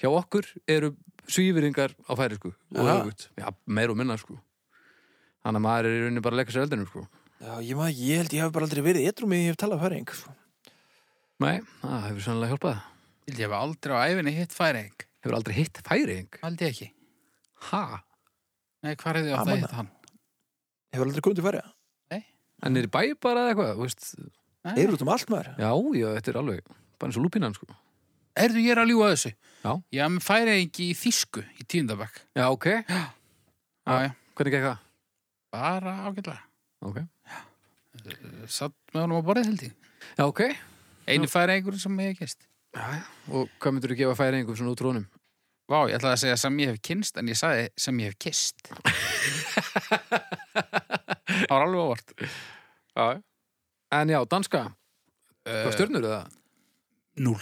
hjá okkur eru svífyringar á færi sko, og Er það? öfugt. já, meir og minna sko. þannig að maður er í rauninni bara að leika sér eldinum sko. Já, ég, maður, ég held ég hef bara aldrei verið etrum ég hef talað færing sko. nei, það hefur sannlega hjálpað Ég hef aldrei á æfinni hitt færing. hefur aldrei hitt færing Aldrei ekki. ha? Nei, hvað er því Gaman að að- hitt hann? Hefur aldrei komið til færi en er í bæ bara eða eitthvað þú veist, Ah. Þeir eru út um allt maður. Já, já, þetta er alveg bara eins og lúpínan, sko. Erðu ég er að ljúga þessu? Já. Já, menn færi ekki í þýsku í tíundabæk. Já, ok. Já, já. Hvernig gekk það? Bara ágætlega. Ok. Satt með honum á borðið held ég. Já, ok. Einu færi einhverjum sem ég hef kynst. Já, já. Og hvað myndur þú gefa færingum svona út trónum? Vá, ég ætlaði að segja sem ég hef kynst, en ég sagði sem ég hef (laughs) kist. Það var alveg óvart. Já. En já, danska, Uh, hvað stjörnur er það? Núl.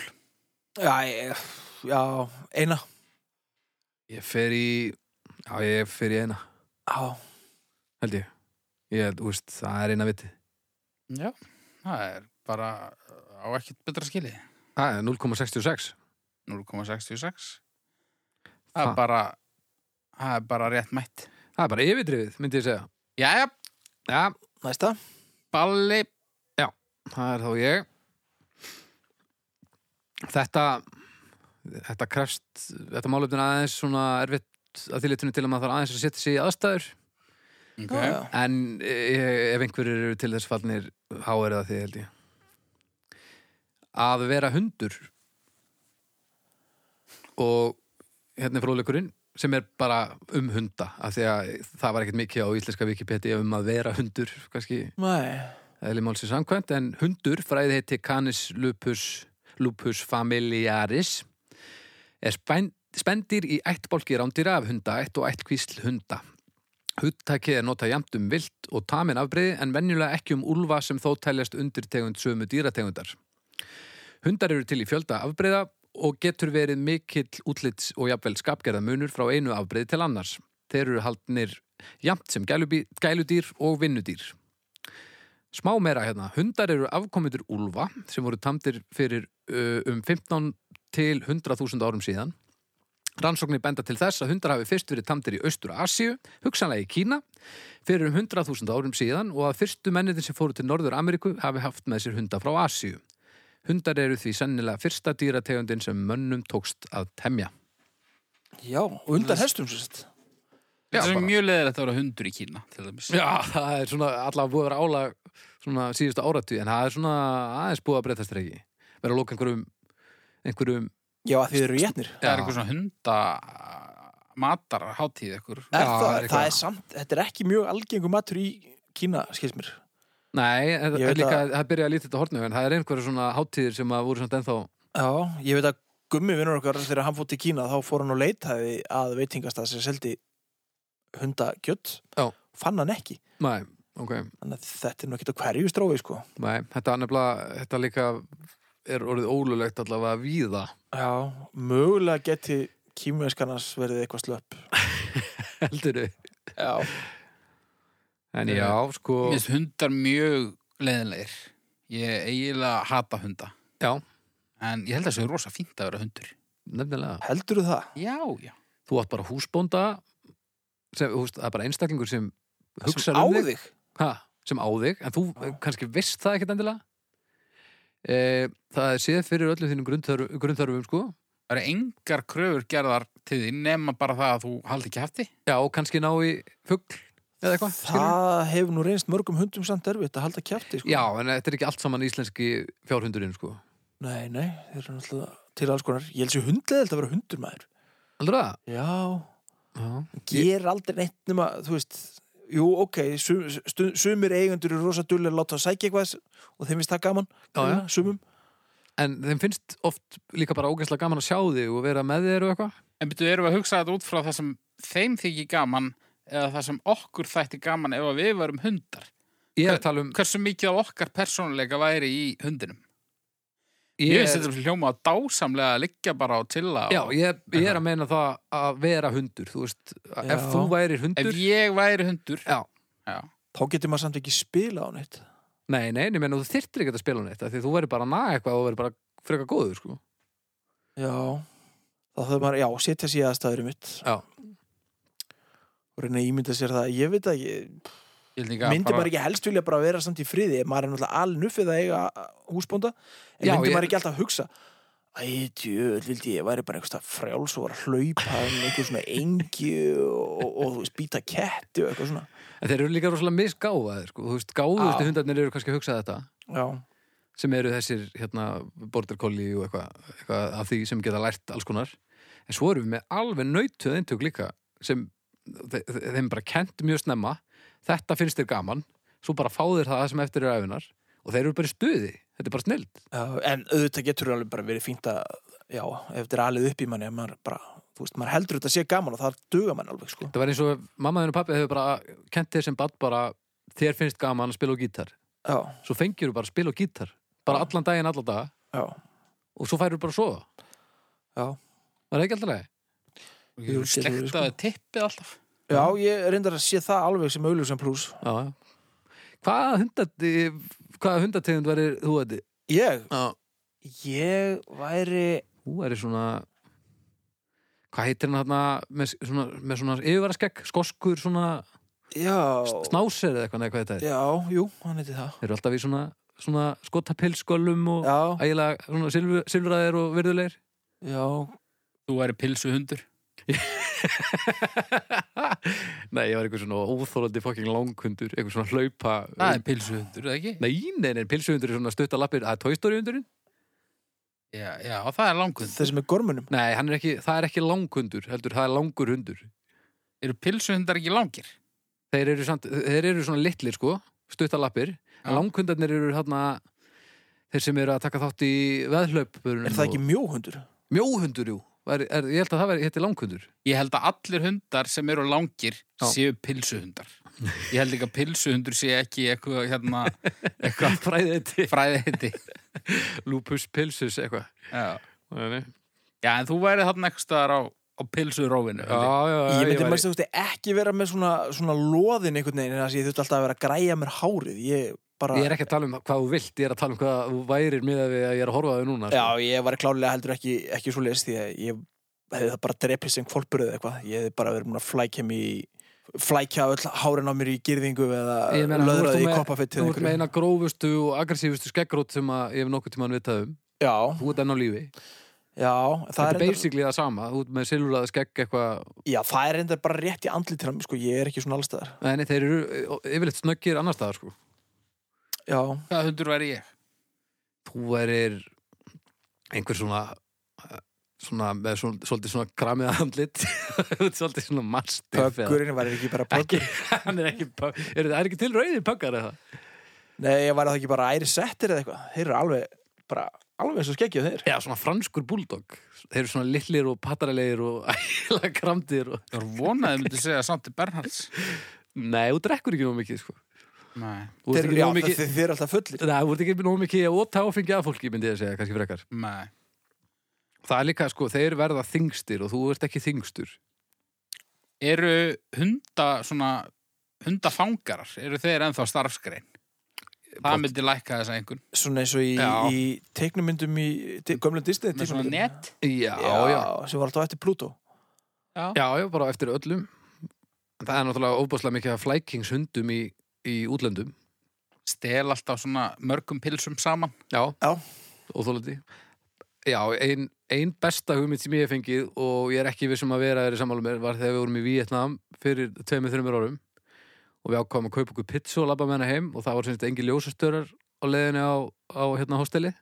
Já, ég, já, eina. Ég fer í, já, ég fer í eina, Já, held ég. Ég, þú veist, það er eina viti. Já, það er bara uh, á ekkert betra skilið. Það er 0,66. 0,66. Það Það- er bara, það er bara rétt mætt. Það er bara yfirdrifið, myndi ég segja. Jæja, Já, næsta. balli. það er þá ég. Þetta, þetta krefst, þetta málefnin er aðeins svona erfitt að þýlitunni til að maður þarf aðeins að setja sig í aðstæður. Já, já. En eh, ef einhverjir eru til þess fallnir, þá er það því held ég. Að vera hundur og hérna er fróðleikurinn sem er bara um hunda af því að það var ekkert mikið á íslenska Wikipedia um að vera hundur, kannski Nei, eðli málsins samkvæmt, en hundur fræði heiti Canis lupus, lupus familiaris er spæn, spendir í ættbólki rándýra af hunda, ætt og ættkvísl hunda. Huttakið er notað jamt um vilt og tamin afbreyði en venjulega ekki um úlfa sem þó teljast undirtegund sömu dýrategundar. Hundar eru til í fjölda afbreyða og getur verið mikill útlits og jafnvel skapgerðamunur frá einu afbreyði til annars. Þeir eru haldnir jamt sem gælubí- gæludýr og vinnudýr. Smá meira hérna, hundar eru afkomendur úlfa sem voru tamdir fyrir uh, um 15 til 100.000 árum síðan. Rannsóknir benda til þess að hundar hafi fyrst verið tamdir í austur Asíu, hugsanlega í Kína, fyrir um 100.000 árum síðan og að fyrstu mennitin sem fóru til Norður Ameríku hafi haft með sér hunda frá Asíu. Hundar eru því sennilega fyrsta dýrategundin sem mönnum tókst að temja. já, og undan hestum svo sett. Já, Þetta er bara. mjög leðilegt að vera hundur í Kína, til dæmis. (laughs) Já, það er svona allavega búið að vera álag svona síðustu áratu, en það er svona aðeins búið að breytast reiki. Verða að lóka einhverjum, einhverjum Já, að þið eru jætnir. Það Já. er eitthvað svona hunda matarháttíð ykkur. Er Já, það, það er það, eitthvað. er samt, þetta er ekki mjög algengum matur í Kína, skils mér. Nei, það Ég er veit líka, það byrja að lítið þetta hortnu en það er einhverja svona hátíðir sem að voru samt ennþá Já, ég veit að gummi vinnur okkar þegar hann fótt í Kína þá fór hann og leitaði að veitingastað sem seldi hundakjött. Já. Fann hann ekki. Nei, ok, Þannig að þetta er nú ekki á hverju strói, sko. nei, þetta er nefnilega þetta líka er orðið ólulegt allavega víða (laughs) Já, mögulega geti kímveskarnas verið eitthvað slöpp. heldur við Já. En já, sko, Mér finnst hundar mjög leðilegir. Ég eiginlega hata hunda. já, En ég held að það sé rosa fínt að vera hundur. nefnilega Heldur þú það? Já, já. Þú átt bara húsbónda sem, þú veist, það er bara einstaklingur sem hugsar Sem á um þig, þig? Ha, sem á þig en þú Já. kannski veist það ekkert endilega e, Það er séð fyrir öllum þínum grundþörf- grunnþörfum sko Það eru engar kröfur gerðar til því nema bara það að þú haldi ekki hefti. Já, og kannski ná í fugl eða eitthvað skilurðu? Það hefur nú reynst mörgum hundum samt erfitt að halda kjæfti, sko. Já, en þetta er ekki allt saman íslenski fjárhundurinn, sko. Nei, nei, þeir eru náttúrulega til alls konar. Ég held sér hundleðild að vera hundur maður. Heldur það? Já. Já. ger aldrei neitt nema, þú veist jú, ok, sum, stu, sumir eigendur eru rosa dullir að láta að sækja eitthvað og þeim finnst það gaman, Já, já. greinilega, sumum En þeim finnst oft líka bara ógæslega gaman að sjá þig og vera með þér og eitthvað. En byrju, erum við að hugsa þetta út frá það sem þeim þykir gaman eða það sem okkur þætti gaman ef að við varum hundar. Ég er að tala um... Hversu mikið af okkar persónuleika væri í hundinum? Ég Ég finnst er, þetta fyrir hljóma að dásamlega að liggja bara og tilla. já, og... ég, ég er að meina það að vera hundur, þú veist. Ef Já. þú værir Ef hundur... ég væri hundur, Já. þá getur maður samt ekki spila á neitt Nei, nei, ég meina þú þyrtir ekki að spila neitt, af því þú væri bara að naga eitthvað og verður bara freka góður, sko. já, þá þarf maður, já, setja sér í aðstæður mitt Já. og reyna að ímynda sér það ég veit að, ég, ég held ekki að myndi maður ekki helst vilja bara vera samt í friði, maður er náttúrulega aln uppið að eiga húsbónda en Já, myndi ég- maður ekki alltaf að hugsa Æ, djöð, vildi ég væri bara einhverstað frjáls og var að hlaupa um einhver svona engi og, og, og þú veist, býta ketti og eitthvað svona En þeir eru líka rosalega misgáfaðir, sko. Þú veist, gáðustu hundarnir eru kannski að hugsa þetta. Já, sem eru þessir hérna, border collie og eitthvað eitthva af því sem geta lært alls konar en svo erum við með alveg nautuð eintök líka sem þe- þe- þeim er bara kent mjög snemma þetta finnst þér gaman, svo bara fá þér það sem eftir er æfinar og þeir eru bara í stuði þetta er bara snild Uh, en auðvitað getur alveg bara verið fínt að, já, ef þetta er alið upp í manni, ef maður bara, þú veist, maður heldur þetta sé gaman og það duga mann alveg, sko. þetta var eins og mamma þinn og pappi hefur bara kent þér sem badd bara þér finnst gaman að spila á gítar Já, svo fengir þú bara spil og gítar bara allan daginn, allan dag já, og svo færur bara að sofa já. var það ekki alltaf leið? Jú, getur verið, sko. Slektaði tippið alltaf. Já, ég reyndar að sé það alveg sem auðljósum pluss. Já, já. hvaða hundati hvaða hundategund verður þú að Ég, já. ég væri, þú verður svona hvað heitir hann þarna með svona, með svona yfirvaraskegg, skoskur svona já, snáser eða eitthvað, nei, hvað þetta er já, jú, hann heiti það. þeir eru alltaf í svona, svona skotapilskölum og Já, ægilega svona silfur, silfraðir og (laughs) virðulegir já, Þú væri pilsuhundur. nei, ég var eitthvað svona óþólandi fokking langhundur, eitthvað svona hlaupa Það er pilsuhundur, eða ekki? Nei, nei, nei, pilsuhundur er svona stutta lappir að tóistóriundurinn? Já, já, það er langhund. þessi með gormunum. Nei, hann er ekki, það er ekki langhundur heldur, það er langur hundur Eru pilsuhundar ekki langir? Þeir eru, samt, þeir eru svona litlir sko stutta lappir, Já. en langhundarnir eru þarna þeir sem eru að taka þátt í veðhlaup Er það ekki mjóhundur? Mjóhundur, jú, er, er, ég held að það veri, hétti langhundur Ég held að allir hundar sem eru langir Já. séu pilsuhundar. Ég held ekki að pilsuhundur sé ekki eitthvað, (laughs) hérna, eitthvað Fræðið þetta, fræðið heiti. lupus pilsus eitthvað Já. Já, já, en þú væri þarna eitthvað staðar á, á pilsurófinu. já, já, Ég myndi væri- mæst að þú veist ekki vera með svona, svona loðin einhvern veginn, en þess að ég þurfti alltaf að vera að græja mér hárið. Ég bara... Ég er ekki að tala um hvað þú vilt, ég er að tala um hvað þú værir miðað við að ég er að horfa á þau núna sko. Já, ég var klálega heldur ekki, ekki svo leist því að ég hefði það bara drepið sem kvolpur eða eitthvað. Ég hefði bara verið múin að flækja mér í flækja öll hárin á mér í gyrðingu eða Ég meina, nú ert löðraði þú í með- koppafitt Þú ert með eina grófustu og aggressífustu skeggrót sem að ég hef nokkuð tímann vitað um. Já, Þú ert enn á lífi. já, það Þetta er er reyndar, basically það sama. Þú ert með silfurlaða skegg eitthvað. já, það er reyndar bara rétt í andli til hann, sko, ég er ekki svona allstaðar. Nei, nei, þeir eru eh, yfirleitt snöggir annar staðar, sko. Já, Hvað hundur væri ég? Þú erir einhver svona eh, svona, með svol- svolítið svona kramið andlit (laughs) Þú ert svolítið svona mastiff eða- pökkurinn var ekki bara pökkur. ekki, (laughs) hann er ekki pö- eru það er ekki til rauðir pökkar eða Nei, ég var það ekki bara æri settir eða eitthvað. Þeir eru alveg, bara, alveg eins og skeggjuð þeir. já, svona franskur bulldog þeir eru svona litlir og pattaralegir og (laughs) ægilega kramdir og... Þú voru vonaðið myndi segja samt til Bernhards. nei, þú drekkur ekki nóg mikið sko. Nei, þú Þeir ert eru, ekki já, nóg mikið þeir, þeir eru alltaf fullir. Nei, þú ert ekki nóg mikið að óta áfengi að fólki, myndi ég að segja, kannski frekar. nei. Það er líka, sko, þeir verða þingstir og þú ert ekki þingstur. Eru hunda svona hundafangarar, eru þeir ennþá starfskrein? Það myndi lækka þess að einhvern. Svona eins og í, Já. í teiknumyndum í di- gömlu Disney Með svona teiknumyndum. net. Já, já, já. sem var alltaf eftir Pluto Já, já, bara eftir öllum. En Það er náttúrulega óbúslega mikið af flækingshundum í, í útlöndum. Stel alltaf svona mörgum pilsum saman. Já. Já. Óþólandi. Já, ein, ein besta hugmynd sem ég hef fengið og ég er ekki vissum að vera þeirri sammála mér var þegar við vorum í Vietnam fyrir tveimur, þreimur árum og við ákváðum að kaupa okkur pizza og labba með hana heim og það var semst engi ljósastörar á leiðinni á, á hérna hósteli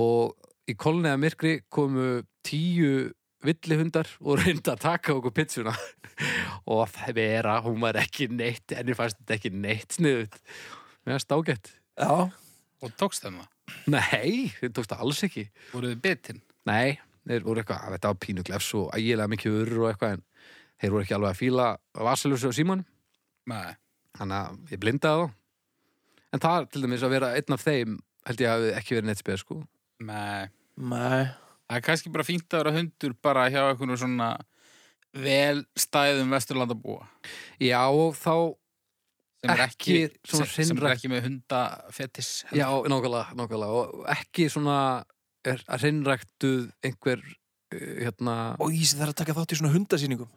og í kolniða myrkri komu tíu villihundar og reynda að taka okkur pizzuna (laughs) og að vera, hún var ekki neitt henni fannst þetta ekki neitt sniðut með að stágett Já, Og tókst þeim það. Nei, þeir tókst það alls ekki Voruðu bitinn. Nei, þeir voru eitthvað, að þetta var pínuglefs og ægilega mikið urur og eitthvað en þeir voru ekki alveg að fíla vasalösu og síman Nei. þannig að ég blindaði þá En það er til dæmis að vera einn af þeim held ég að hafi ekki verið neitt spes sko Nei. nei Það er kannski bara fínt að vera hundur bara hjá einhvern svona vel stæðum vesturlanda búa. Já, og þá, Sem er ekki, Ekki svona sem, sem er hreinrækt. ekki með hundafetis. já, nákvæmlega, nákvæmlega og ekki svona er að reynræktuð einhver eh, hérna, Og Ísi þarf að taka þátt í svona hundasýningum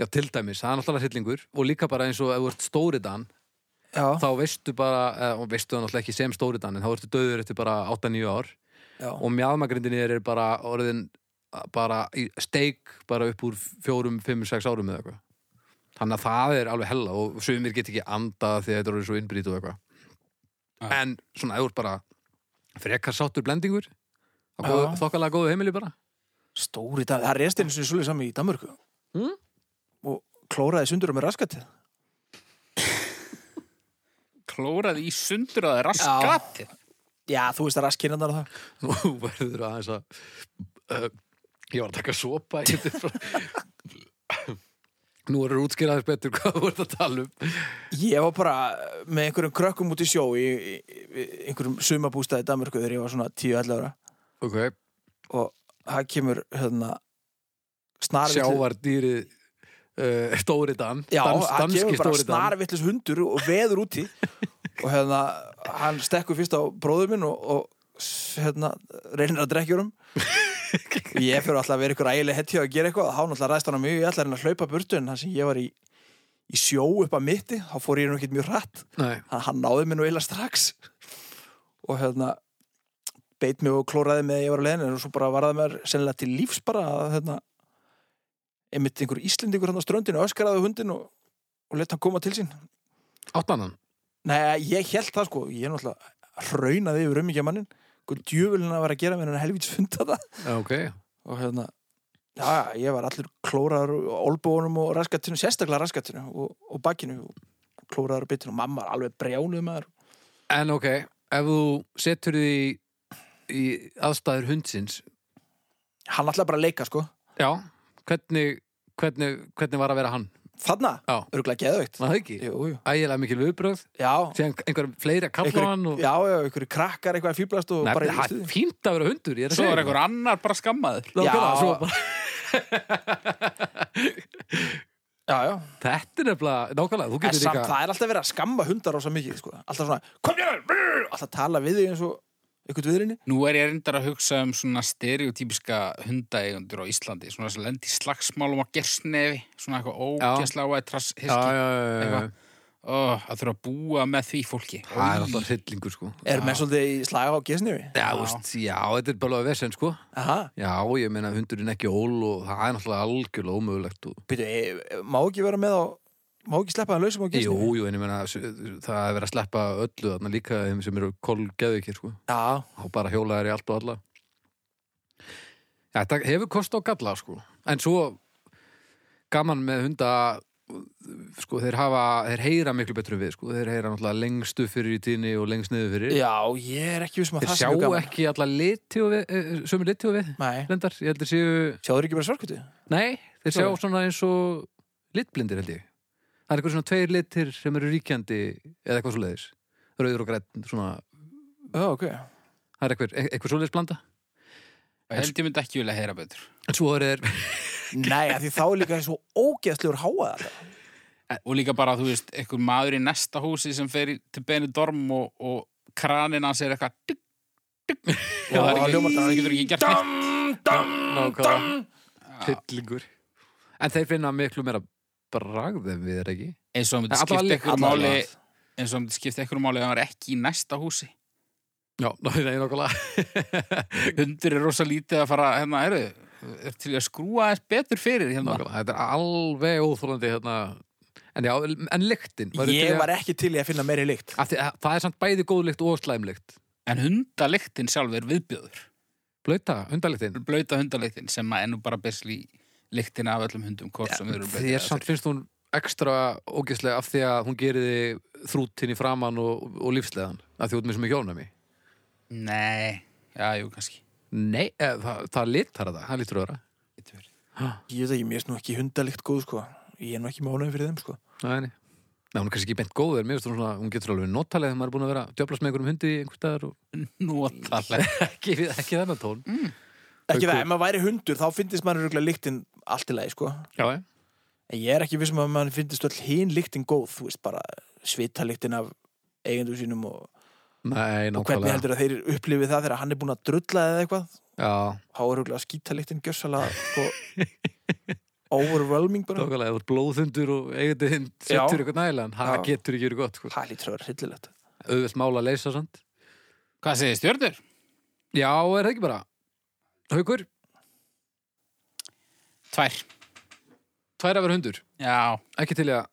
já, til dæmis það er náttúrulega hryllingur og líka bara eins og ef þú ert stóriðan Já, þá veistu bara, eh, og veistu það náttúrulega ekki sem stóriðan en þá ertu döður eftir bara 8-9 ár já, og mjadmagrindin er bara orðin bara í steik bara upp úr fjórum, fimm, sex árum eða eitthvað þannig að það er alveg hella og sumir get ekki andað því að þetta er orðið svo innbrýt og eitthvað Já. en svona ef þú ert bara frekar sáttur blendingur á Já. góðu, þokkalega góðu heimili bara (laughs) Stóri dag, það reyst einu sinni svolítið saman í Danmörku Mm. og klóraði sundur með raskatið. Klóraði í sundur að það er raskati. Já, þú veist að raskinnarnar og það. Nú verður aðeins að uh, Ég var að taka sopa í þetta frá (laughs) Nú eru útskýraðis betur hvað voru að tala um Ég var bara með einhverjum krökkum út í sjó í, í, í einhverjum sumabústaði í Danmörku þegar ég var svona 10-11 ára Ok, og það kemur hérna snarvitlis sjávar dýrið uh, Stóri Dan Já, dans, það Danski kemur bara Stóri Dan snarvitlis hundur og veður úti (laughs) og hérna hann stekkur fyrst á bróður minn og, og s- hérna reynir að (laughs) drekkjurum og ég fyrir alltaf að vera ykkur ægileg hetja að gera eitthvað hann alltaf ræðst hann á mjög, ég ætla að reyna að hlaupa burtu en þann sem ég var í, í sjó upp að mitti þá fór ég nú ekkert mjög hratt Nei, hann, hann náði mér nú eila strax og hérna beit mig og klóraði með að ég var að leiðin og svo bara varði mér sennilega til lífs bara að hérna einmitt einhver Íslendingur hann á ströndinu öskraði á hundin og, og leta hann koma til sín áttanan Nei, ég held það sko, ég er náttúrulega raunaði yfir umíkja mannin hvað djöfulinn að vera að gera mér en helvíts funda það Ok, og hérna Já, ég var allir klóraður og olbónum og raskatinu, sérstaklega raskatinu og, og bakkinu og klóraður og bitinu og mamma var alveg brjánuð maður en ok Ef þú setur því í, í aðstæður hundsins Hann ætlaði bara að leika sko Já, hvernig, hvernig, hvernig var að vera hann? Þarna, Já. örgulega geðveikt Var það ekki? Jú, jú. Ægilega mikil viðbröð Já, Þegar einhver fleiri að kalla á einhverju- hann og... já, já, einhverju krakkar eitthvað fýblast og Nei, bara það er fínt að vera hundur Ég er að Svo segja er einhver annar bara skammaður. Já. Nákvæmlega, svo bara, Já, já, Þetta er nefnilega, nákvæmlega, þú en getur samt líka það er alltaf verið að skamma hundar á svo mikið sko. Alltaf svona, kom hér, brrr, alltaf tala við þig eins og einhvern viðrinni Nú er ég reyndar að hugsa um svona stereotypiska hundaeigundur á Íslandi, svona sem lendi í slagsmálum á gersnefi, svona eitthvað ógæslega og eitthvað hiski. Eitthvað. Ó, að þurfa að búa með því fólki. Það er alltaf hryllingur sko Er með svolítið í slaga á gesniði Já, þú veist, já, þetta er bara vesen sko Aha, Já, ég meina hundurinn ekki ól og það er náttúrulega algjörlega ómögulegt og... býtu, eh, má ekki vera með á Má ekki sleppa hann lausum á Jú, gesniði jú, en ég meina s- það er verið að sleppa öllu þarna líka þeim sem eru kolgeðu ekki sko Já, og bara hjólaðar í allt og alla Já, þetta hefur kost á galla sko en svo gaman með hunda sko þeir hafa, þeir heyra miklu betru við sko, þeir heyra náttúrulega lengstu fyrir í tíðni og lengst niður fyrir já, ég er ekki vissum að þeir það sjá sé mjög gaman ekki alla liti og við, sömu liti og við Nei, lendar, ég heldur séu sjáður ekki bara svarkutu? nei, þeir sjá Svo. svona eins og litblindir held ég það er eitthvað svona tveir litir sem eru ríkjandi eða eitthvað svoleiðis, rauður og grætt svona, Já, ok það er eitthvað, e-, eitthvað svoleiðis blanda Ég held ég myndi ekki vilja heyra betur. en svo er þeir Nei, af því þá er líka svo ógeðslegur háað alltaf Og líka bara, þú veist, einhver maður í næsta húsi sem fer í- til Benidorm og, og kranin hans er eitthvað dygg, dygg. Já, Og það er það ekki, hljómar þannig. það getur ekki gert neitt. Fyllingur En þeir finna miklu meira bragð en við er ekki Eins og hann myndi Alla skipta lykt- einhverju alla máli, lykt. eins og hann myndi skipta einhverju máli að hann var ekki í næsta húsi. Já, (laughs) ná, það er nokkulega Hundur er rosa lítið að fara, hérna, eru, er til í að skrúa aðeins betur fyrir hérna. Nákvæmlega, þetta er alveg óþólandi hérna En já, en lyktin Ég var ekki til í að finna meiri líkt ekki Það er samt bæði góð lykt og slæmlykt En hundaliktin sjálf er viðbjöður. Blauta, hundalyktin Blauta hundaliktin sem að ennú bara besli lyktin af öllum hundum hvort sem þeir eru blautir Þér eða samt finnst hún ekstra ógeðslega af því að hún geriði þrútin í framann og, og lífsleðan af því út með sem ekki ónæmi þurr. Nei, já, jú, kannski. Nei, eh, það, það litar það, það lítur öðra Getur verið. Ég veit ekki, mér er nú ekki hundalikt góð sko Ég er nú ekki mánuðin fyrir þeim sko Nei, nei. Nei, hún er kannski ekki bent góður, mér finnst hún svona, hún getur alveg notalega þegar maður er búin að vera að djöflast með einhverjum hundi í einhver staðar og Notalega. ekki, ekki þennan tón. Ekki Haukur. það, ef maður væri hundur þá fyndist maður röglega líktinn allt í lagi sko Já, ég. En ég er ekki vissum að maður fyndist öll hinn líktinn góð Þú veist bara svitaliktin af eigendur sínum og, Nei, og hvernig nákvæmlega. heldur að þeir upplifið það þegar hann er búin að drulla eða eitthvað Já, Há er röglega skítaliktin gjössalega sko (laughs) overwhelming bara nákvæmlega, ef þú er blóðhundur og eigandi hund Já. settur eitthvað nægilegan, það Já. getur ekki verið gott, sko. Það lítur að vera hryllilegt Auðvelt mála að leysa samt. (laughs) Hvað segir stjörnur? Já, er það ekki bara? Haukur, Tvær. tvær að vera hundur, Já, ekki til í að,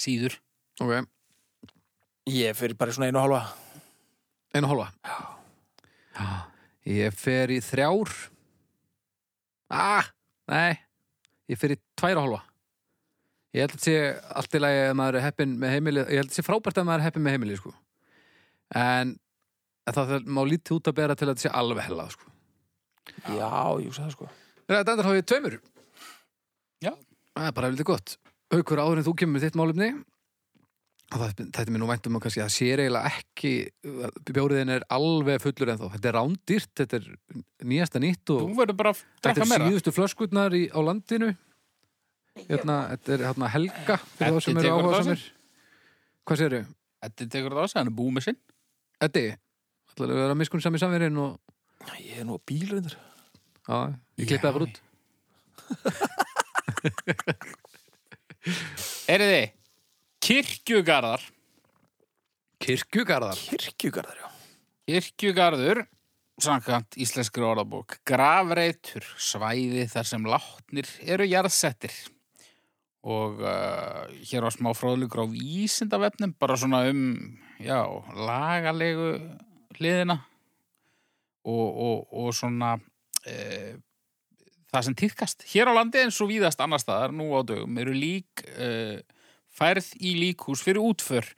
síður. ok, Ég fyrir bara í svona einu og hálfa Einu hálfa Já. Ég fer í þrjár Ah, nei Ég fer í tværa hálfa Ég held að sé allt í lagi að maður er heppin með heimili Ég held að sé frábært að maður er heppin með heimili sko. En en það þarf- má lítið út að bera til að þetta sé alveg hella sko. Já, ég sagði það sko Ræða dændar hafið tveimur Já. Það er bara lítið gott Haukur áður en þú kemur með þitt málumni og það, þetta er mér nú vænt um að kannski það sér eiginlega ekki bjóriðin er alveg fullur ennþá þetta er rándýrt, þetta er nýjasta nýtt Þú og verður bara að þetta drekka er meira. síðustu flöskurnar í, á landinu hérna, þetta er hérna helga fyrir þá Eddi sem eru tekur þetta á áhuga samir Hvað séru? Þetta tekur það á sig, hann er búið með sinn. Eddi, ætlaðu að vera miskun sami samverinn og Ég er nú að bíl reyndar Já, ég klippi það bara út Erið þið, kirkjugarðar. Kirkjugarðar Kirkjugarðar, já Kirkjugarður, samkvæmt íslenskri orðabók, grafreitur, svæði þar sem látnir eru jarðsettir. Og uh, hér var smá fróðlugur á vísindavefnum, bara svona um, já, lagalegu hliðina og, og, og svona uh, það sem týrkast. Hér á landi eins og víðast annar staðar nú á dögum eru lík uh, færð í líkhús fyrir útför.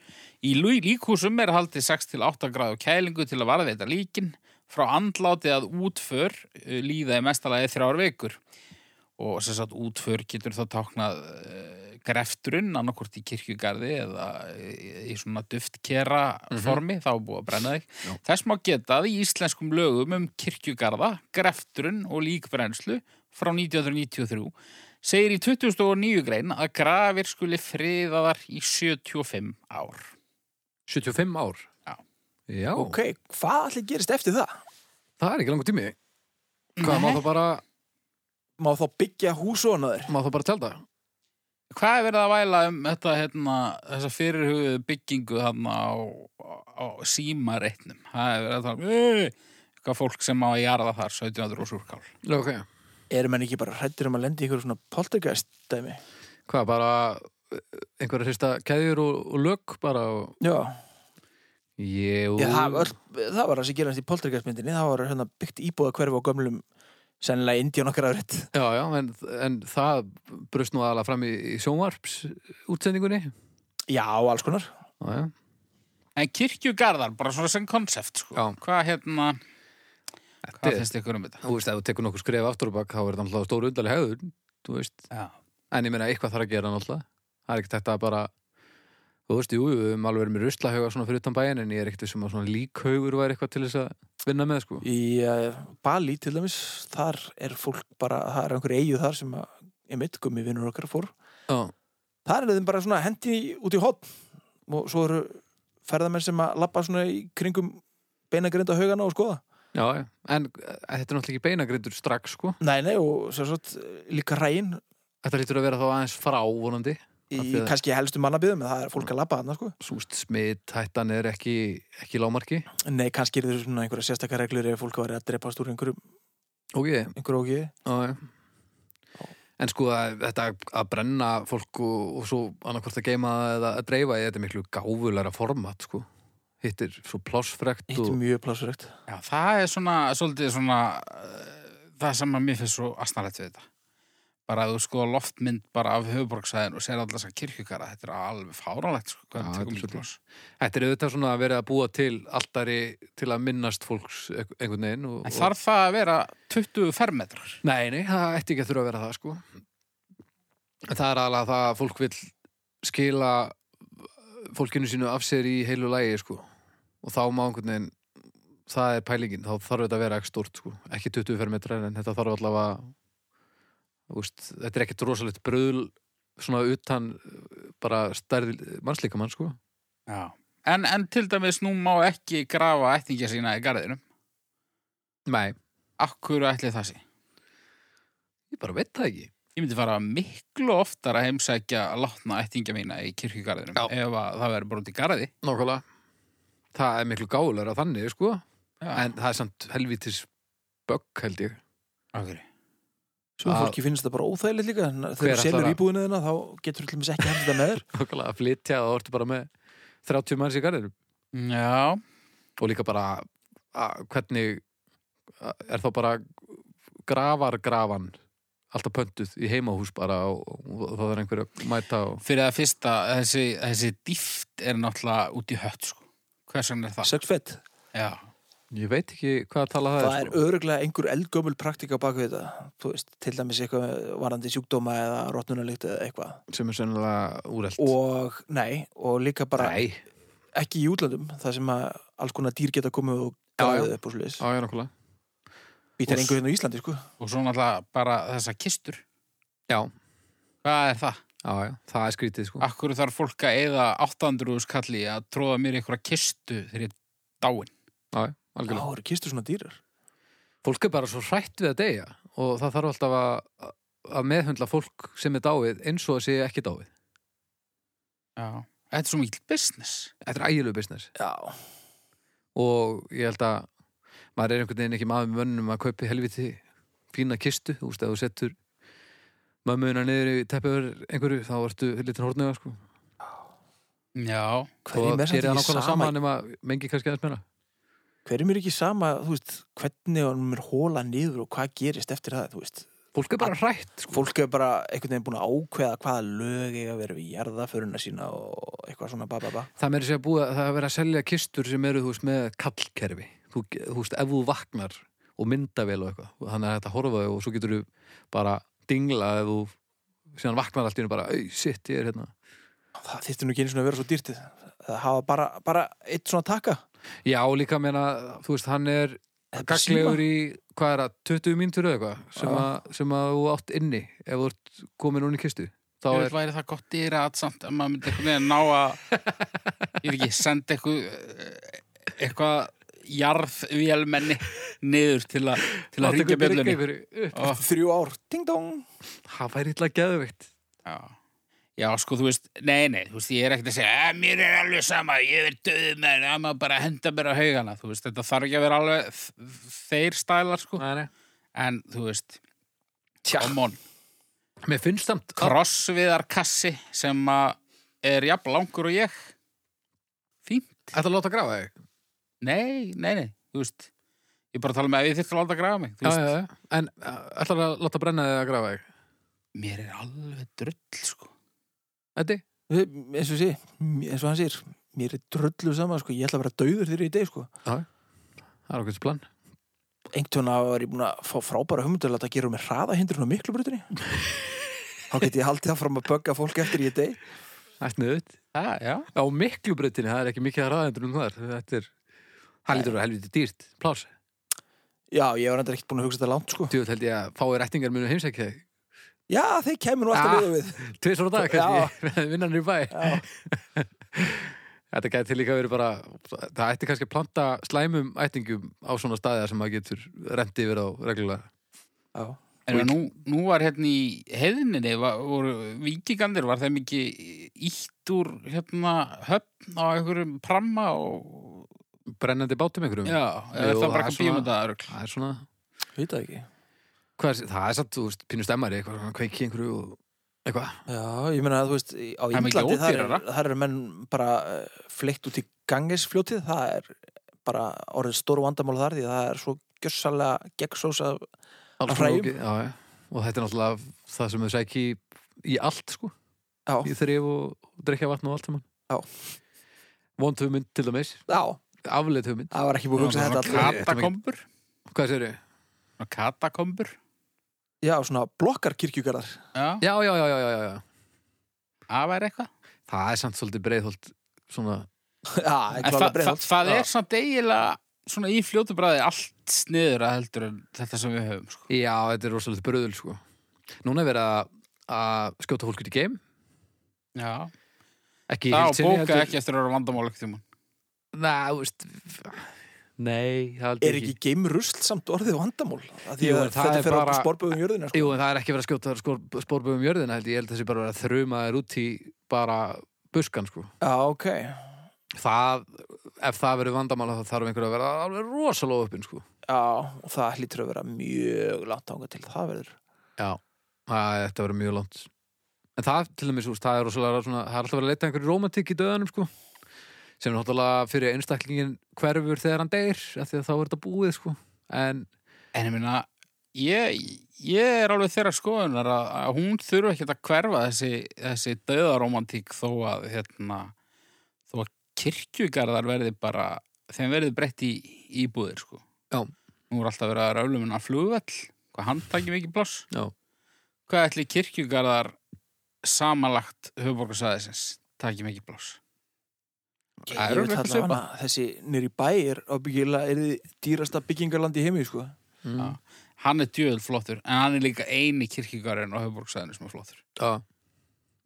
Í lú- líkhúsum er haldið 6-8 gráðu kælingu til að varðveita líkin frá andláti að útför eh, líða í mestalagi þrjár vikur og sem sagt útför getur þá táknað uh, grefturinn annarkvort í kirkjugarði eða eh, í svona duftkera formi þá er búið að brenna þig þess má geta að í íslenskum lögum um kirkjugarða, grefturinn og líkbrennslu frá 1993 segir í 2009 grein að grafir skuli friðaðar í 75 ár 75 ár Já. Já, Ok, hvað allir gerist eftir það? það er ekki langur tími Hvað, má Nei. þá bara, Má þá byggja hús og annaður má þá bara tjálta? Hvað er verið að væla um þetta hérna, þessa fyrirhugðu byggingu þarna á, á símareitnum? Það er verið að tala um "Ey", eitthvað fólk sem á að jarða þar 1700 og súrkál. Ok, Erum menn ekki bara hrættir um að lenda í ykkur svona poltergeist dæmi? hvað, bara einhverja hrista keðjur og, og lög bara og... Já, Jú, Ég, það, var, það var það sem gerast í poltergeistmyndinni Það var hérna byggt íbúða hverfi á gömlum Sennilega indjón okkar afrið já, já, en, en það brust nú aðalega fram í, í sjónvarps útsendingunni Já, Já, alls konar já, En kirkjugarðar, bara svona sem konsept, sko. Já. Hvað hérna, þetta hvað er finnst ykkur um þetta? Þú veist, ef þú tekur nokkur skref aftur og bakk þá er þetta náttúrulega stóru undarlega hefur Þú veist, Já. en ég meina eitthvað þarf að gera náttúrulega Það er ekkert þetta að bara Þú veist, jú, jú, við höfum alveg verið með ruslahauga svona fyrir utan bæin en ég er ekkert sem að svona líkhaugur væri eitthvað til þess að vinna með, sko Í uh, Bali til dæmis Þar er fólk bara, það er einhver eigið þar sem að, ég mitt gummi vinnur okkar fór Já, Þar er þeim bara svona hendi út í hotn og svo eru ferðamenn sem að lappa svona í kringum beinagrinda haugana og skoða. já, já, en eh, þetta er náttúrulega ekki beinagrindur strax, sko Nei, nei, og sem sagt líka rægin Þetta lítur að vera þá aðeins frá vonandi í Af því að- kannski helstu mannabyðum en það er fólk að lappa þarna, sko. Súst smitt, hættan er ekki, ekki í lágmarki Nei, kannski eru þeir svona einhverja sérstakar reglur ef fólk væri að drepast úr einhverju, Og ég, einhverju ógi. Já, já. En sko að, þetta að brenna fólk og, og svo annarkvort að geima það eða að dreifa í þetta er miklu gáfulegra format sko. Hitt er svo plássfrekt Eitt og mjög plásurögt. Já, það er svona, svolítið svona, uh, það sem að mér finnst svo astnalegt við þetta. Bara að þú skoða loftmynd bara af höfuborgsæðin og sér alltaf þessar kirkjugarða, þetta er alveg fáránlegt, sko, Já, hvað þetta er þetta tekur svolítið. mikið loss. þetta er auðvitað svona að vera að búa til alltari til að minnast fólks einhvern veginn og, En þarf það að vera 20 fermetrar? og, Nei, nei, það ætti ekki að þurfa að vera það sko. En Það er alveg að það að fólk vil skila fólkinu sínu af sér í heilu lægi sko. og þá má einhvern veginn það er pælingin, þá þarf þetta að vera ekki stórt sko. ekki 20 fermetrar en þetta þarf allavega þú veist, þetta er ekkert rosalegt bröðl svona utan uh, bara stærð mannslíkamann sko. Já. En, en til dæmis nú má ekki grafa ættingja sína í garðinum. Nei, Akkur ætli það sé? ég bara veit það ekki Ég myndi fara miklu oftar að heimsækja að látna ættingja mína í kirkjugarðinum Já. ef að það verður bara út í garði. Nákvæmlega Það er miklu gáðulega þannig sko. en það er samt helvítis bögg held ég okkur. Svo Að- fólki finnst þetta bara óþægilegt líka. þannig að Hver Þegar þú selur ætlar að- íbúðinu þina þá getur þú ekki (laughs) hefðið þetta með þér. Nákvæmlega að flytja og orðu bara með 30 manns í garðinum Já, og líka bara að, hvernig að, er þá bara gravargrafan alltaf pöntuð í heimahús bara og, og, og það er einhverju að mæta og Fyrir það fyrsta, þessi, þessi dýft er náttúrulega út í hött, sko. Hvers vegna er það? Sögt fett. Já. ég veit ekki hvað að tala það, Það er sko. öruglega einhver eldgömmul praktika bak við þetta. Þú veist, til dæmis eitthvað varandi sjúkdóma eða rottnunarlíkt eða eitthvað. sem er sennilega úrelt Og, nei, og líka bara Nei, ekki í útlandum, það sem að alls konar dýr geta komið og Já, gafið upp og sliðis. á ég nokkulega Býtar engu hérna á Íslandi, sko. Og svo náttúrulega bara þessa kistur. Já, Hvað er það? já, já, það er skrítið sko Akkur þarf fólk að eyða 800 skalli að tróða mér í einhverja kistu þegar ég er dáin. Já, já, Já, algjörlega eru kistur svona dýrar. Fólk er bara svo hrætt við að deyja og það þarf alltaf að, að meðhundla fólk sem er dáið eins og að sé ekki dáið Já. Þetta er svo mikil business. Þetta er ægilegu business Já. og ég held að maður er einhvern veginn ekki maður með mönnum að kaupi helviti fína kistu, þú veist, ef þú settur mömmuna niður í teppiður einhverju, þá ertu litin hortnega sko. Já. Hverjum og er samt gerir það ekki nákvæmlega sama, sama nema mengi kannski aðeins meira hverjum er ekki sama, þú veist, hvernig honum er hóla niður og hvað gerist eftir það, þú veist. fólk er bara hrætt sko. Fólk er bara einhvern veginn búin að ákveða hvaða lög eiga að vera við jarðaföruna sína og eitthvað svona ba ba ba. það meiri sér að búa, það er verið að selja kistur sem eru, þú veist, með kallkerfi þú, þú veist, ef þú vaknar og mynda vel og eitthvað, þannig að þetta horfa á þig og svo getur þú bara dingla ef þú síðan vaknar allt í hennu bara, au, sitt, ég er hérna Það þýttir nú ekki einu svona að vera svo dýrt Það hafa bara, bara eitt svona taka Já, líka meina, þú veist, hann er Eða bara gaglegur síma. í, hvað er það, 20 mínútur eða eitthvað sem, að, sem að þú átt inni ef þú ert komin hún í kistu þá Ég er, veit væri það gott dýra að samt að maður myndi einhvern veginn ná (laughs) að ég veit ekki, senda eitthvað eitthvað jarðvélmenni niður til, a, til að ringja bjöllunni byrjunni Ó, Þrjú ár, ding dong Það væri illa geðveikt já. já, sko, þú veist nei, nei, þú veist, ég er ekkert að segja að mér er alveg sama, ég er döð með að maður bara henda mér á haugana þú veist, þetta þarf ekki að vera alveg þ- þeir stælar, sko Nei, nei. en, þú veist, come on Mér finnst samt að, krossviðar kassi sem að er jafn langur og ég fínt Þetta láta grafa þig Nei, nei, nei, þú veist Ég er bara að tala með að ég þyrfti að láta að grafa mig þú já, veist, já, já. En ætlar að láta brenna þig að grafa þig Mér er alveg drull, sko Eddi? eins og, sé, eins og hann sér Mér er drullu sama, sko, ég ætla að vera dauður þeirri í dag sko. Það er okkur plan Einktjóna var ég búin að fá frábæra humundalata að gera um hraða hindrun á miklu (laughs) brutinni Þá get ég haldið það fram að bögga fólk eftir í dag Ætt niður Já, já Á miklu breytinni, það er ekki mikið að ræðendur um þar Þetta er, það lítur að vera helviti dýrt Plás, Já, ég var endur ekkert búin að hugsa þetta langt sko. djúið held ég að fáið rættingar munu heimsækja þig Já, þeir kemur nú alltaf Ah. við og við Tvisvar á dag Já. kannski, (laughs) með vinnanir í bæ Já. (laughs) Þetta gæti líka verið bara Það ætti kannski að planta slæmum ættingum á svona staðið sem maður getur rendi yfir á reglulega Já. En nú, nú var hérna í heiðinni var, voru vikingandir, var þeim ekki ítt úr hérna höfn á einhverjum pramma og Brennandi bátum einhverjum Já, Jú, eða er það er það bara eitthvað svona- bíómyndaðarugl Það er svona Veit það ekki hvað er, Það er satt, þú veist, pínu stemmari eitthvað, svona kveiki einhverju og eitthvað Já, ég meina að þú veist, í- á er mikið Índlandi þar, er, ódýrara. þar eru menn bara uh, fleitt út í gangisfljótið, það er bara orðið stóru vandamál þar því að það er svo gjössalega gegnsósa Alls Að konar hræjum. ógeð- já, já. Og þetta er náttúrulega það sem þau sæki í, í allt sko, Já, í þrif og, og drikja vatn og allt saman Já. Vond hugmynd til dæmis, já, afleitt hugmynd það var ekki búið að hugsa þetta allir allavega. Katakombur Hvað sér Katakombur Já, svona blokkar kirkjugarðar (laughs) Já, Já, já, já, já, já, já. það væri eitthvað Það er samt svolítið breiðholt svona, Já, En klála það, það, breiðholt það Já. er samt eiginlega svona í fljótu bræði allt sniður að heldur en þetta sem við höfum, sko já, þetta er rosalega bröðul sko. Núna er verið að- að skjóta fólk út í geim Já, ekki í það heild og sinni, bóka heldur- ekki eftir að vera vandamál ekkert um Nei, þú veist Nei, það heldur Er ekki geimrusl samt orðið vandamál? Af Því Jú, að en það þetta er fer bara- okkur sporböðum jörðina sko. Jú, en það er ekki verið að skjóta skor- sporbögum jörðina held ég, ég held þessi bara verið að þruma þér út í bara buskan sko. Já, ok það, ef það verið vandamála þá þarf einhverju að vera alveg rosalega uppin sko. Já, og það hlýtur að vera mjög langt ánga til það verður Já, það, þetta verið mjög langt En það, til dæmis, þú veist, það er rosalega svona, það er alltaf verið að leita að einhverju rómantík í döðanum, sko sem er náttúrulega fyrir einstaklingin hverfur þegar hann deyr af því að þá er þetta búið sko. en En ég meina, ég, ég er alveg þeirra skoðunar að, að hún þurfa ekki að hverfa þessi, þessi döðaromantík þó að, hérna, þó að kirkjugarðar verði bara, þeim verði breytt í íbúðir, sko. Já. Nú er alltaf verið að rálu minna flugvell, hvað hann takir mikið pláss. já, Hvað ætli kirkjugarðar samanlagt höfuborgarsæðisins takir mikið pláss? Ég Það er veit örugglega allavega svipað. hana, þessi nýri bæir ábyggilega er þið dýrasta byggingarland í heimi, sko. mm, Hann er djöðl flottur, en hann er líka eini kirkjugarðin á höfuborgarsæðinu sem er flottur. já.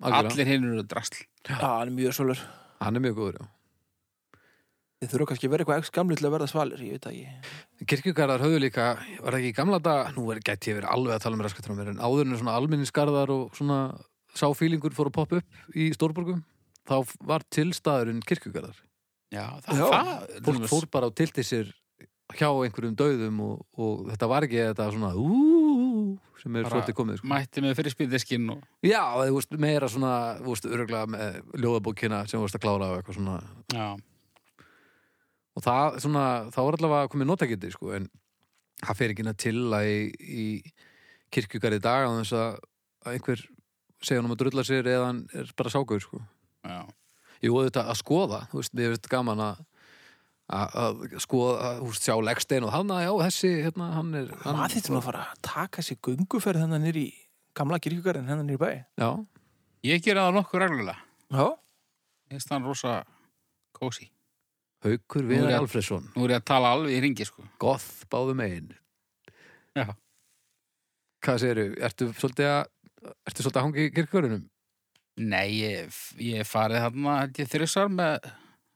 Allir. Allir hinn eru drasl. Já, það er mjög svolur. hann er mjög góður já. Þið þurfa kannski að vera eitthvað ekki gamli til að verða svalir, ég veit það ekki. kirkjugarðar höfðu líka, var það ekki í gamla dag nú er gæti ég verið alveg að tala með raskatur á mér en áður en svona alminnisgarðar og svona sáfílingur fór að poppa upp í stórborgum þá var tilstaðurinn kirkjugarðar Já, Já. það, fólk fór bara og tilti sér hjá einhverjum dauðum og, og þetta var ekki þetta svona úúú sem er Bara svolítið komið sko. mætti með fyrir spýðdiskinn og Já, þú veist, meira svona, þú veist, öruglega með ljóðabókina sem þú veist að klára og eitthvað svona já, og það, svona, þá var allavega komið notakindi, sko, en það fer ekki inn að til að í, í kirkjugar í dag á þess að að einhver segja hann um að drulla sér eða hann er bara sákur, sko já, Jú, þetta að skoða, þú veist, mér finnst gaman að að- að skoða, að, þú veist, sjá leggstein og hann, já, þessi, hérna, hann er hann, Maður þetta nú að fara að taka sér gunguferð hennan nýri í gamla kirkjugarinn hennan nýri bæ. Já, ég gera það nokkuð reglulega Já, ég finnst hann rosa kósi Haukur Nú er Viðar ég- Alfredsson nú er ég að tala alveg í ringi sko Goth báðum einn Já. Hvað segiru, ertu svolítið að ertu svolítið að hangi í kirkjörunum? nei, ég, ég farið þarna held ég þrjusar með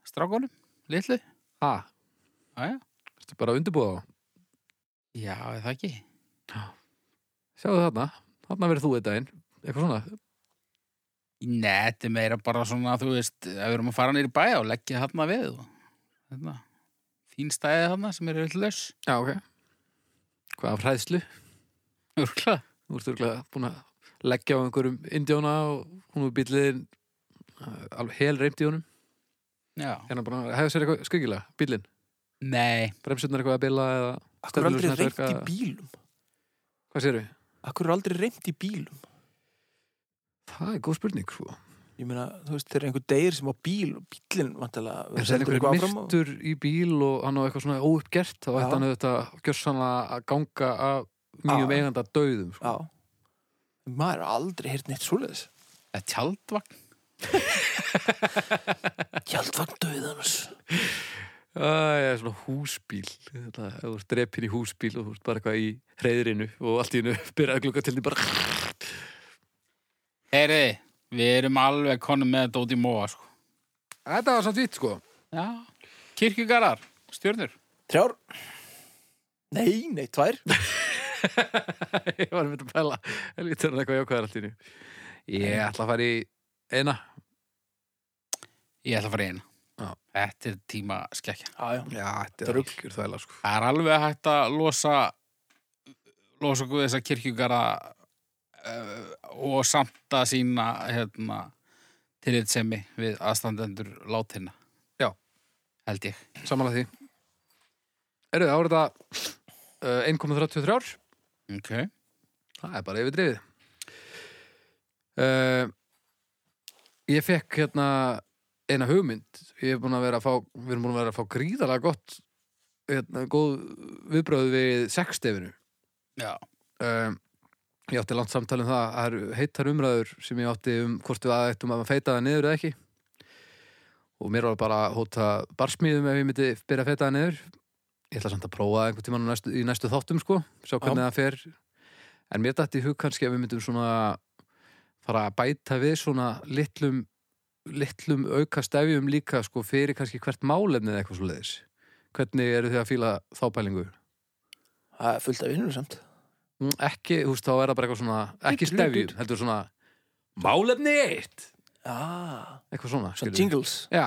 strákonum litlu, Ha, aðja, ertu bara að undirbúða á? já, er það ekki Sjáðu þarna, þarna verður þú þetta einn eitthvað svona, nei, þetta er meira bara svona þú veist, ef við erum að fara nýri bæja og leggja þarna við og, þarna, fín stæði þarna sem er öll laus já ok Hvað af hræðslu? Úrkla. Þú ert örglega búin að leggja á einhverjum indjóna og hún er bíllinn uh, alveg hel reymt í honum já, hérna búin að hefða sér eitthvað skringilega, bíllinn nei, bremsirnar eitthvað að bila eða akkur er Stefnur aldrei sem þetta reynt í verka- bílum. hvað séru? Akkur er aldrei reynt í bílum. Það er góð spurning sko Ég meina, þú veist, þegar einhver deyr sem á bíl og bílinn vantilega En það er einhver myrtur í bíl og hann á eitthvað svona óuppgert þá Já. ætti hann auðvitað gjörsanlega að ganga af mjög Já. eiganda dauðum sko. Já. Maður er aldrei heyrt neitt svoleiðis. það er tjaldvagn Gjaldvagn döðanus. Það er svona húsbíl þetta, ef þú ert drepin í húsbíl og þú ert bara eitthvað í hreyðrinu og allt í hennu byrjaði glugga til því bara heyriði, við erum alveg konum með þetta út í móa sko Þetta var samt vitt sko Já, kirkjugarðar, stjörnur. Þrjár. Nei, nei, tvær. (laughs) Ég var með að pæla helvítið hann eitthvað jákvæðar allt í hennu Ég ætla að fara í eina Ég ætla að fara í eina. Já. Þetta er tíma skekkja. Já, já. Já, þetta er algjör þvæla sko Það er alveg hægt að losa, losa guð þessa kirkjugarða uh, og samt að sína hérna, tillitsemi við aðstandendur látina. Já. Held ég. Samanlega því Eru það voru þetta uh, 1,33 ár Ok. Það er bara yfir drifið. Uh, ég fekk hérna eina hugmynd. Ég er búin að vera að fá, við erum búin að vera að fá gríðalega gott, hérna, góð viðbröð við sextefinu. Já. Um, ég átti langt samtal um það, það eru heitar umræður sem ég átti um hvort við aðeittum að feita það niður eða ekki. Og mér var bara að hóta barsmíðum ef ég myndi byrja að feita það niður. Ég ætla samt að prófa einhvern tímann á næstu, í næstu þáttum sko, sjá hvernig það fer. En mér dætti hug kannski að við myndum svona fara að bæta við svona litlum, litlum auka stefjum líka sko fyrir kannski hvert málefni eða eitthvað svo leiðis. Hvernig eru þið að fíla þá pælingu? Það er fullt af vinnur samt. Mm, ekki, þú veist, þá er það bara eitthvað svona ekki stefjum, heldur svona málefni eitt, Já, eitthvað svona, svona skilurðu. jingles. Já,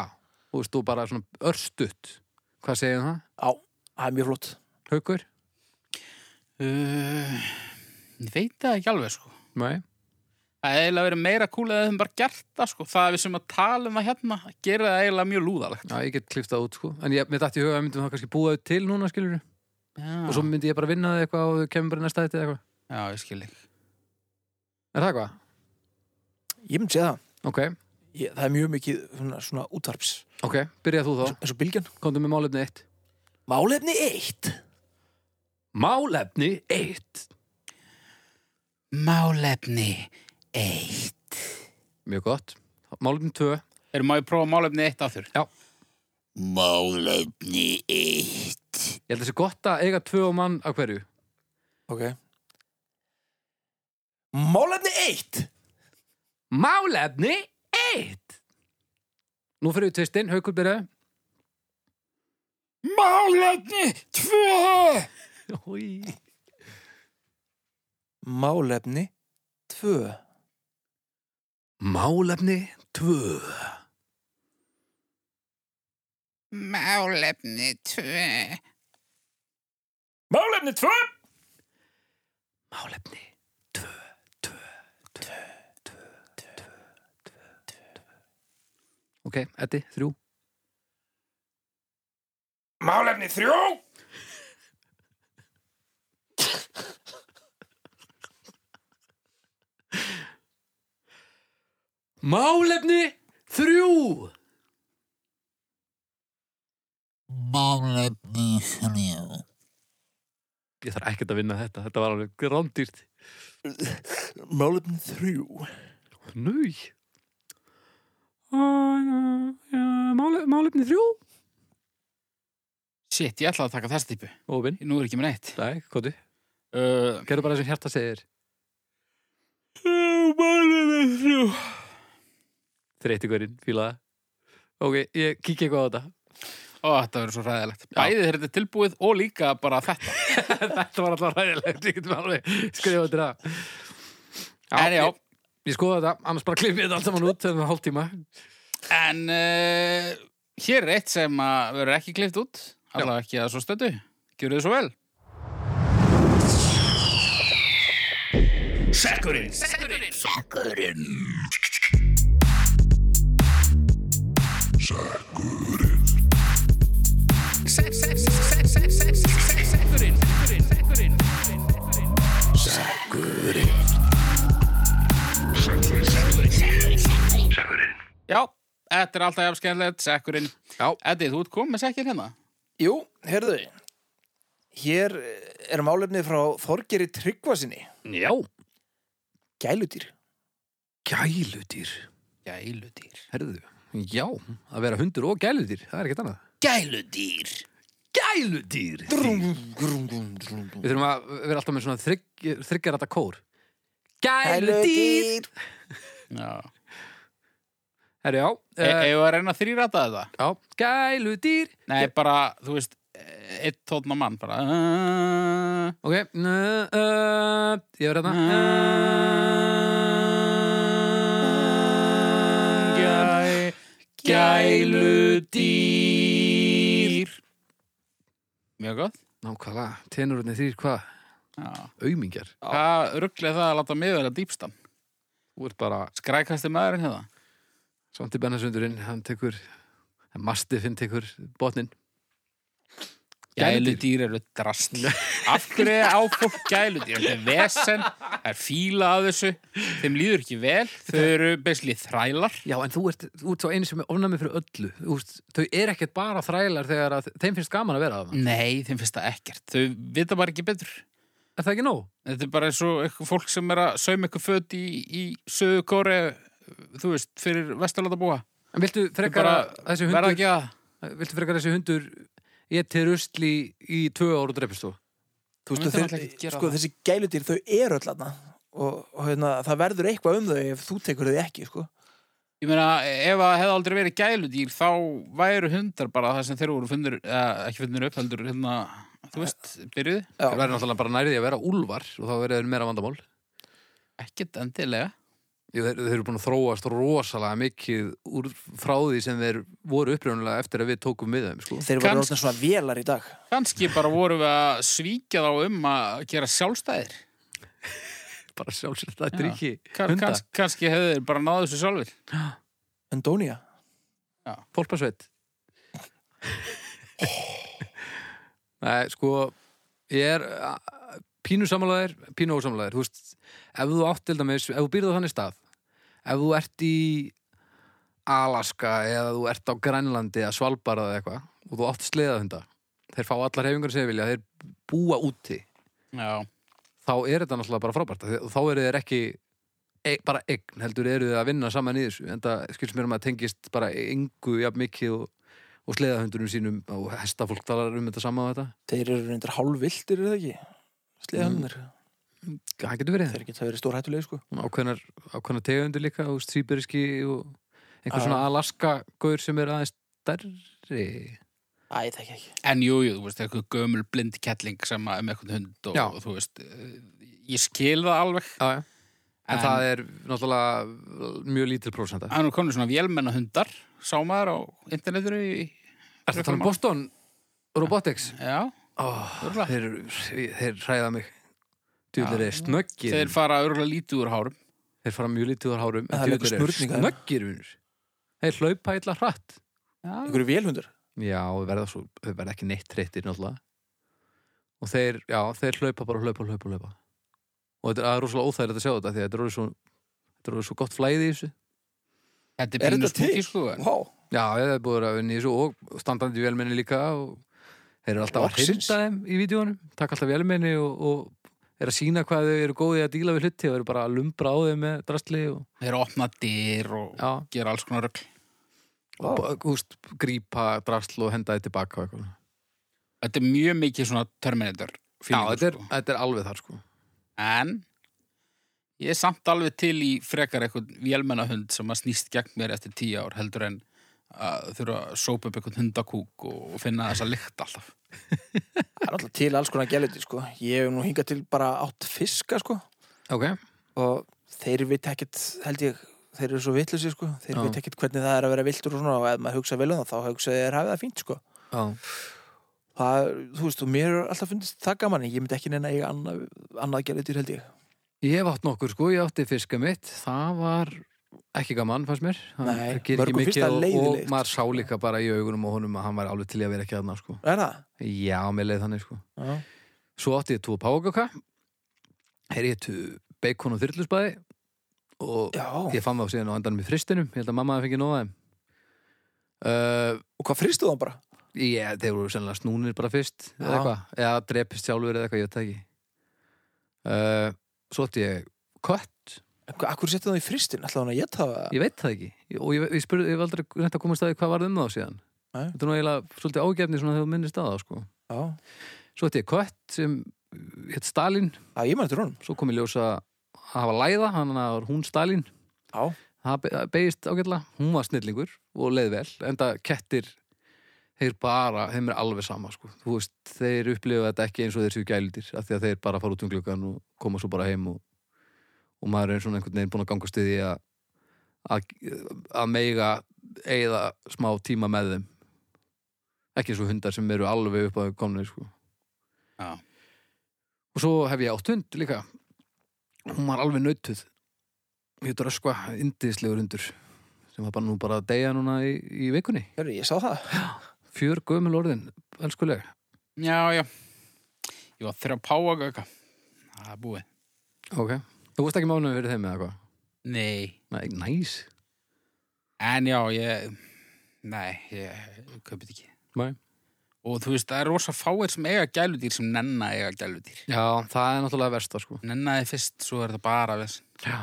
þú veist, þú bara svona örstutt hvað segir það, Já, það er mjög flott. haukur? Uh, ég Eh, veit það ekki alveg, sko. Nei, Það Það hefði eiginlega verið meira kúlið að þeim bara gert það, sko. Það að við sem að tala um það hérna, gerir það eiginlega mjög lúðalegt. Já, ég get kliftað út, sko. En ég, mér dætti í huga að við myndum það kannski búa það til núna, skilur Já, Og svo myndi ég bara vinna það eitthvað og þau kemur bara í næsta þetta eitthvað. já ég skil ekki. Er það eitthvað? Ég myndi segja það. Ok, Ég, það er mjög mikið svona, svona útvarps. ok, byrjað þú þá. Eins og bylgjan. Komdu með málefni eitt. Málefni eitt. Málefni eitt. Málefni eitt. Mjög gott. Málefni tvö. Erum maður að prófa málefni eitt á þurr? Já. Málefni eitt. Ég held að þessi gott að eiga tvö og mann af hverju. Ok. Málefni eitt. Málefni eitt. Nú fyrir við tvistinn, haukur byrjaði. Málefni tvö. Új. Málefni tvö. Málefni tvö. Málefni tvö. Málefni tvö. Málefni tvö, tvö, tvö, tvö, tvö, tvö, tvö. Ok, Eddi, þrjú. Málefni þrjú. Málefni þrjú. Málefni þrjú. Ég þarf ekkert að vinna þetta, þetta var alveg grándýrt. Málefni þrjú. Núi. Málefni þrjú. Shit, ég ætlaði að taka þessa típu. Óvinn. Nú er ekki með neitt. Nei, kóti. Uh, Gerðu bara þessum hjarta segir. málefni þrjú. Þreyti hverjum, fílaða. Ok, ég kíkja eitthvað á þetta. (laughs) Ó, þetta verður svo ræðilegt. Bæði þeir þetta tilbúið og líka bara þetta. þetta var alltaf ræðilegt, ég getum alveg skrifað undir það. en já, Ég, ég skoða þetta, annars bara klippið þetta allt saman út þegar það er hálftíma. en uh, hér er eitt sem að verður ekki klift út. Alla ekki að svo stöndu. Gjörðu þið svo vel. Já, þetta er alltaf jafn skemmtilegt, sekkurinn. Já. Eddi, þú ert komið með sekkin hérna. Jú, herðu. Hér eh, er málefni frá Þorgeri Tryggvasinni. Já. Gæludýr. Gæludýr. Gæludýr. Herðu. Já, að vera hundur og gæludýr, það er ekkert annað. Gæludýr. Gæludýr. Drum, drum, drum, drum, drum. Við þurfum að vera alltaf með svona þrygg, þryggjarata kór. Gæludýr. Já. Herru, já. E eh, Eða að reyna að þrýrata þetta? já. Gæludýr. Nei, bara, þú veist, eh, einn tónna mann, bara. Uh, Ok, nö, uh, ég verð hérna. gæ, gæludýr. Mjög gott. Nákvæmlega, tenurunni þrýr hvað? Já. Aumingjar. Hvað rugglega það að láta mig vera dýpstam? Þú ert bara Skrækasti maðurinn hérna? Svandi Bennasundurinn, hann tekur Mastifinn tekur botnin Gæludýr. Gæludýr eru drastl. Af hverju á fólk gæludýr? Þetta er vesen, það er fíla að þessu, þeim líður ekki vel, þau eru beislið þrælar. Já, en þú ert, þú ert svo eini sem er ofnæmi fyrir öllu Þú veist, Þau eru ekkert bara þrælar þegar að, þeim finnst gaman að vera af það Nei, þeim finnst það ekkert. Þau vita bara ekki betur. Er það ekki nóg? Þetta er bara eins og eitthvað fólk sem er að sauma eitthvað föt í, í söðu kóri, þú veist, fyrir vesturlanda búa. En viltu frekar að þessi verða hundur ekki að... Viltu frekar að þessi hundur Ég til rusli í tvö ára og dreipist þú Þú Það veist, myndi náttúrulega þeir, ekki gera sko, það. þessi gæludýr, þau eru öll aðna og, og hérna, það verður eitthvað um þau ef þú tekur þau ekki, sko. Ég meina, ef það hefði aldrei verið gæludýr, þá væru hundar bara það sem þeir voru fundur, eh, ekki fundur upp heldur, hérna, þú veist, byrjuð. Já. Það verður náttúrulega bara nærið að vera úlfar og þá verður þeir meira vandamál Ekkert endilega. Jú, þeir, þeir eru búin að þróast rosalega mikið úr frá því sem þeir voru upprjónulega eftir að við tókum við þeim sko. Þeir verður Kannski- orðin svona vélar í dag. Kanski bara vorum við að svíkja þá um að gera sjálfstæðir. bara sjálfsagt að drikki Kann, Hunda. kanns, kannski hefur þeir bara náðu þessu sjálfur Endónia fólkbærsveit Nei, sko ég er a- pínu samanlæðir, pínu ósamanlæðir þú veist, ef þú átt til dæmis ef þú býrðu þannig stað ef þú ert í Alaska eða þú ert á Grænlandi eða Svalbard eða eitthvað og þú átt sleða hunda þeir fá allar hefingar sem þeir vilja, þeir búa úti Já, þá er þetta náttúrulega bara frábært af því að þá eru þeir ekki e, bara eign, heldur eru þeir að vinna saman í þessu en það skils mér um að tengist bara yngu jafn mikið og, og sleðahundunum sínum og hestafólk talar um þetta saman og þetta Þeir eru reyndar hálfviltir, er það ekki? Mm. Sleðanir, það getur verið þeir geta verið stórhættulegi sko ákveðnar, ákveðnar tegundur líka og stríberiski og einhver Já. svona Alaska-gaur sem er aðeins stærri Æ, það ekki en jú, jú, þú veist, eitthvað gömul blind kettling sem að um eitthvað hund og, Já. og þú veist, eh, ég skil það alveg já, já. En, En- það er náttúrulega mjög lítil prósenta Það er nú konur svona vélmenna hundar, sá maður á internetinu í... Er það talað um Boston Robotics? Já, Oh, Örugglega. þeir, þeir hræða mig Djúlir er snöggir þeir fara örgulega lítið úr hárum. Þeir fara mjög lítið úr hárum En það er líka smurningar. Snöggir vinnur Þeir hlaupa illa hratt Ykkur er vélhundur Já, þeir verða, svo, þeir verða ekki neitt treytir náttúrulega Og þeir, já, þeir hlaupa bara hlaupa, hlaupa, hlaupa Og þetta það er rosalega óþægilegt að sjá þetta Því að þetta er orðið svo, þetta er orðið svo gott flæði í þessu Þetta er Er pínu þetta spúki, til? sko. en- Vá, Já, þeir er búið að vinna í þessu og standandi vélmenni líka og þeir eru alltaf að Loksins. hinda þeim í vídjónum taka alltaf vélmenni og, og er að sína hvað þau eru góðið að díla við hluti og eru bara að lumbra á þeim með drastli og, Þeir opna dyr og já, gera alls konar rögl. Vá. og bara, þú veist, grípa drastl og henda þið tilbaka og eitthvað. Þetta er mjög mikið svona Terminator. Já, feelingur, þetta er, Sko. þetta er alveg þar sko En ég er samt alveg til í frekar eitthvað vélmenna hund sem að snýst gegn mér eftir tíu ár heldur en að þurfa að sópa upp eitthvað hundakúk og finna þessa lykt alltaf. það er alltaf til alls konar gæliti sko Ég hef nú hingað til bara átt fiska sko Ok, og þeir veit ekkert, held ég þeir eru svo vitlusi sko, þeir Já. veit ekkert hvernig það er að vera viltur og svona og ef maður hugsa vel um það þá hugsa þeir hafið það fínt sko já, það, þú veist, og mér er alltaf fundist það gaman en ég myndi ekki neina eiga annað, annað gerðitur held ég ég hef átt nokkur sko, ég átti fiska mitt það var ekki gaman, fannst mér Það Nei, gerir ekki mörgum finnst mikið það og, og leiðilegt. maður sá líka bara í augunum og honum að hann var alveg til í að vera ekki þarna sko er það? Já, mér leið þannig sko Já. Svo átti ég tvo págaka Herri ég tvo bacon og þyrlusbæði og Já, ég fann það síðan á endanum í fristinum ég held að mamma það fengi nóða þeim uh, og hvað fristu það bara? ég, Þeir voru sennilega snúnir bara fyrst eða Já. eitthvað, eða drepist sjálfur eða eitthvað, ég veit það ekki uh, Svo átti ég kött, En hvað- Akkur setja það í fristin, alltaf hann að geta það ég veit það ekki Ég- og ég, ég, spurði, ég hef aldrei reynt að komast að því hvað varð um þá síðan Nei. Þetta er nú eiginlega svolítið ágefni svona þegar þú minnist að það sko. Já, Svo átti ég kött sem uh, hét Stalin já ég mann eftir honum svo kom ég ljósa að hafa læða hann að hún Stalin Já, það be- beigist ágætlega, hún var snillingur og leið vel, enda kettir þeir bara, þeim er alveg sama sko. þú veist, þeir upplifa þetta ekki eins og þeir séu gælutir, af því að þeir bara fara út um gluggan og koma svo bara heim og, og maður er svona einhvern veginn búin að ganga stuði að, að, að meiga eigða smá tíma með þeim ekki eins og hundar sem eru alveg upp að komna sko. Já. og svo hef ég átt hund líka hún var alveg nautuð ég dröskva indiðislegur hundur sem var bara nú bara að deyja núna í, í vikunni hörru, ég sá það fjör gömul orðin, elskuleg Já, já. Ég var þeirra páagöka. Það er búið. ok, þú veist ekki mánuðum fyrir þeim eða hvað Nei. nei, næs En já, ég Nei, ég kaupi þetta ekki Nei. Og þú veist, það er rosa fáir sem eiga gæludýr sem nenna að eiga gæludýr já, það er náttúrulega versta sko Nenna þið fyrst, svo er það bara við já.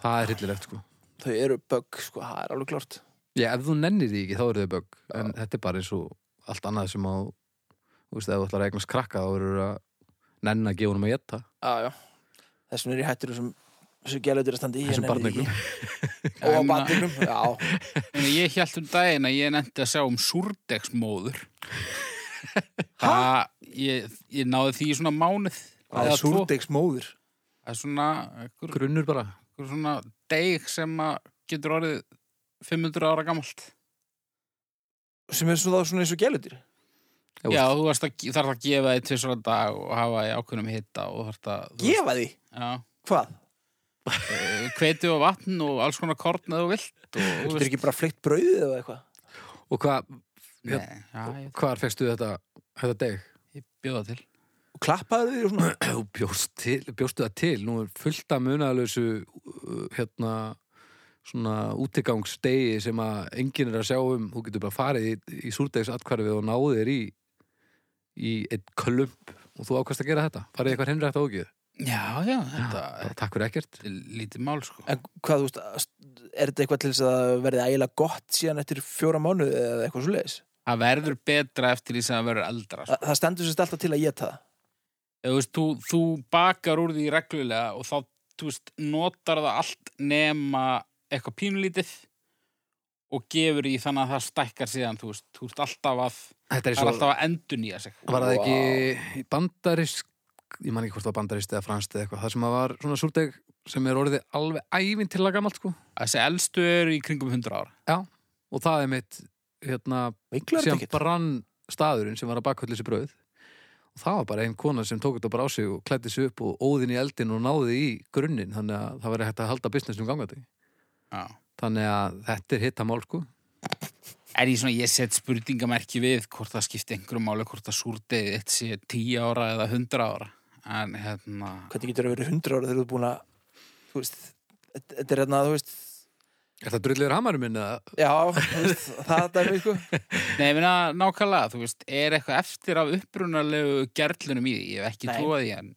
það er hryllilegt sko Þau eru bögg, sko, það er alveg klart já, ef þú nennir því ekki, þá eru þau bögg en þetta er bara eins og allt annað sem á þú veist, ef þú ætlar að eignast krakka þá eru að nenn að gefa honum að geta Já, já Þessum er ég hættur þessum þessu gerðitur að standa í en Þessum er ekki. (laughs) barneignum. Og á En- barnignum, já Ég hélt um daginn að ég nefndi að sjá um súrdegsmóður Það, ég, ég náði því í svona mánuð Það eða er tvo. súrdegsmóður Það er svona, einhver, grunnur bara einhver svona deg sem að getur orðið 500 ára gamalt sem er svona, svona eins og gælutir Þú Já, þú varst að, þarf að gefa því tvisvara dag og hafa því ákveðnum hitta og þarf að þú veist- gefa því, Já hvað? eh, hveiti og vatn og alls konar korn eða þú vilt og, Þetta er ekki bara fleitt brauðið eða eitthvað Og hvað, Nei, já, ég, hvar fegstu þetta, þetta deg? ég bjóða til og klappaðu þér og svona (clears throat) Þú bjóst til, bjóstu það til, nú er fullt af munalösu hérna svona útigangsdegi sem að enginn er að sjá um, þú getur bara farið í, í súrdegsatkvarfið og náðir í í eitt klump og þú ákvæmst að gera þetta, farið eitthvað hennrætt ágið Já, já, þetta bara takk fyrir ekkert er lítið mál sko en hvað þú veist, að- er þetta eitthvað til þess að það verði ægilega gott síðan eftir fjóra mánuði eða eitthvað svo leiðis Það verður betra eftir því sem það verður eldra sko. það, það stendur sérst alltaf til að geta það Eða, þú, veist, þú, þú bakar úr því reglulega og þá þú veist, notar það allt nema eitthvað pínulítið og gefur í þannig að það stækkar síðan þú veist, þú veist alltaf að Þetta er það er svo, alltaf að endunýja sig var það ekki bandarisk ég man ekki hvort það var bandarist eða franskt eða eitthvað, það sem að var svona súrdeg sem er orðið alveg ævintilega gamalt sko Þessi elstu eru í kringum 100 ára og það er mitt hérna miklar þetta sem ekkert brann staðurinn sem var að bakkvöldu þessi brauð og það var bara einn kona sem tók þetta bara á sig og klætti sig upp og óðin í eldin og náði í grunnin þannig að það verið hægt að halda businessnum gangandi Já. þannig að þetta er hitta mál sko Er ég svona, ég set spurningamerki við hvort það skipti einhverju máli, hvort það súrdeið eitt sé 10 ára eða 100 ára en hérna, hvernig getur það verið hundra ára þegar þú er búin að þú veist, þetta þetta er hérna, þú veist Er það drulliður hamarum minn að já, þú veist, (laughs) það er dæmi sko Nei, ég meina nákvæmlega, þú veist, er eitthvað eftir af upprunalegu gerlunum í því, ég hef ekki Nei. trúað því, en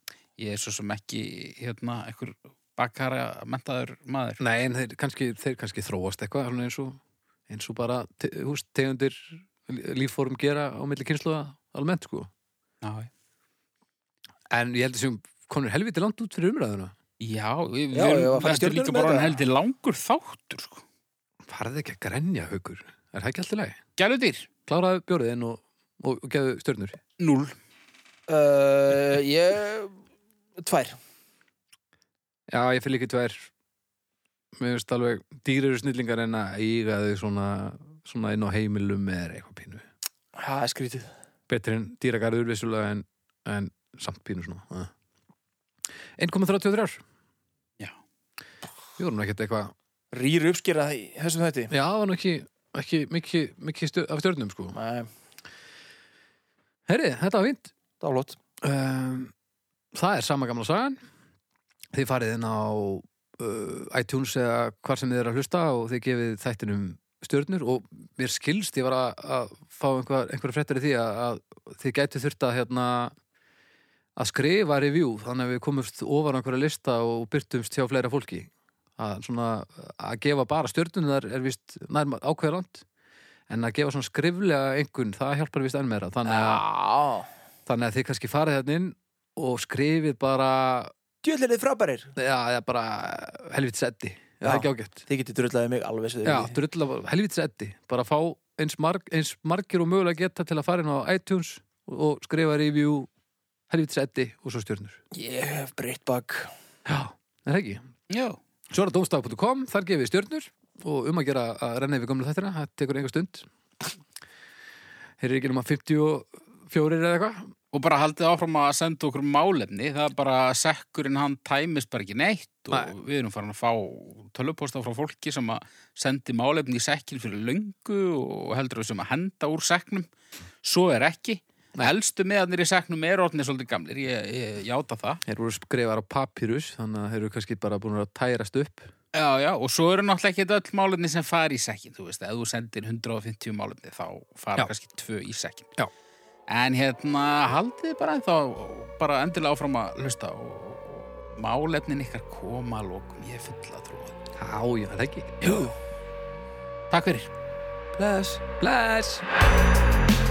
ég er svo sem ekki, hérna, einhver bakkara mentaður maður. Nei, en þeir kannski, þeir kannski þróast eitthvað svona eins og, eins og bara te, húst, tegundir lífform gera á milli kynsluða almennt sko Já, En ég held að sem konur helviti langt út fyrir umræðuna já, Já, við, við já, að fara erum, í þetta er stjörnur líka með bara þetta. hann heldur langur þáttur, sko. Farði ekki að grenja haukur Er það ekki alltaf lægi? Gæludýr, Kláraðu bjóriðin og, og, og gefðu stjörnur null. uh, ég tvær Já, ég fyrir líka tvær Mér finnst alveg dýrur snillingar en að eiga þau svona, svona inn á heimilum eða eitthvað pínu það er skrítið Betri en dýragarður vissulega en, en samt pínu svona eh. 1,33 Já. Ég voru nú ekkert eitthvað rýr uppskera í þessum þetta Já, það var nú ekki, ekki mikið, mikið stjör, af stjörnum sko það Herri, þetta var fínt var lott um, Það er sama gamla sagan Þið farið inn á uh, iTunes eða hvar sem þið er að hlusta og þið gefið þættinum stjörnur og mér skilst ég var að, að fá einhver, einhverja fréttar í því að, að þið gætu þurft að hérna að skrifa review þannig að við komumst ofar á einhverja lista og byrtumst hjá fleira fólki að, svona, að gefa bara stjörnunar er vist nær ákveðaland en að gefa svona skriflega einhvern það hjálpar vist enn meira þannig að já, Þannig að þið kannski farið hérna inn og skrifið bara, djöðlega þið frábærir já, eða bara helvitis eddi. Já. Það er ekki ágætt. þið getur drullaðið mig alveg svo þið Já, viljið. drulla, helvitis eddi. Bara fá eins, marg, eins margir og mögulega geta til að fara inn á iTunes og skrifa review helvitis eddi og svo stjörnur. ég hef breytt bak Já, er það ekki. Já. Svo er það domstag.com, þar gefið stjörnur og um að gera að renna yfir gömlu þættina, það tekur einhver stund. Þeir eru ekki um að 54 eða eitthvað. Og bara haldið áfram að senda okkur málefni, það er bara að sekkurinn hann tæmis bara ekki neitt og Nei. við erum farin að fá tölvupósta frá fólki sem að sendi málefni í sekkin fyrir löngu og heldur við sem að henda úr seknum, svo er ekki. Nei. Helstu meðanir í seknum er orðinni svolítið gamlir, ég, ég játa það. Þeir voru skrifar á papírus, þannig að þeir eru kannski bara búin að tærast upp. Já, já, og svo eru náttúrulega ekki öll málefni sem fara í sekkin, þú veist, ef þú sendir 150 málefni þá fara Já. kannski tvö í sekkin. Já. En hérna, haldið bara ennþá, bara endilega áfram að hlusta og og málefnin ykkar koma að lókum, ég er fulla trúið. Já, já, það ekki. Jú, Takk fyrir. bless Bless!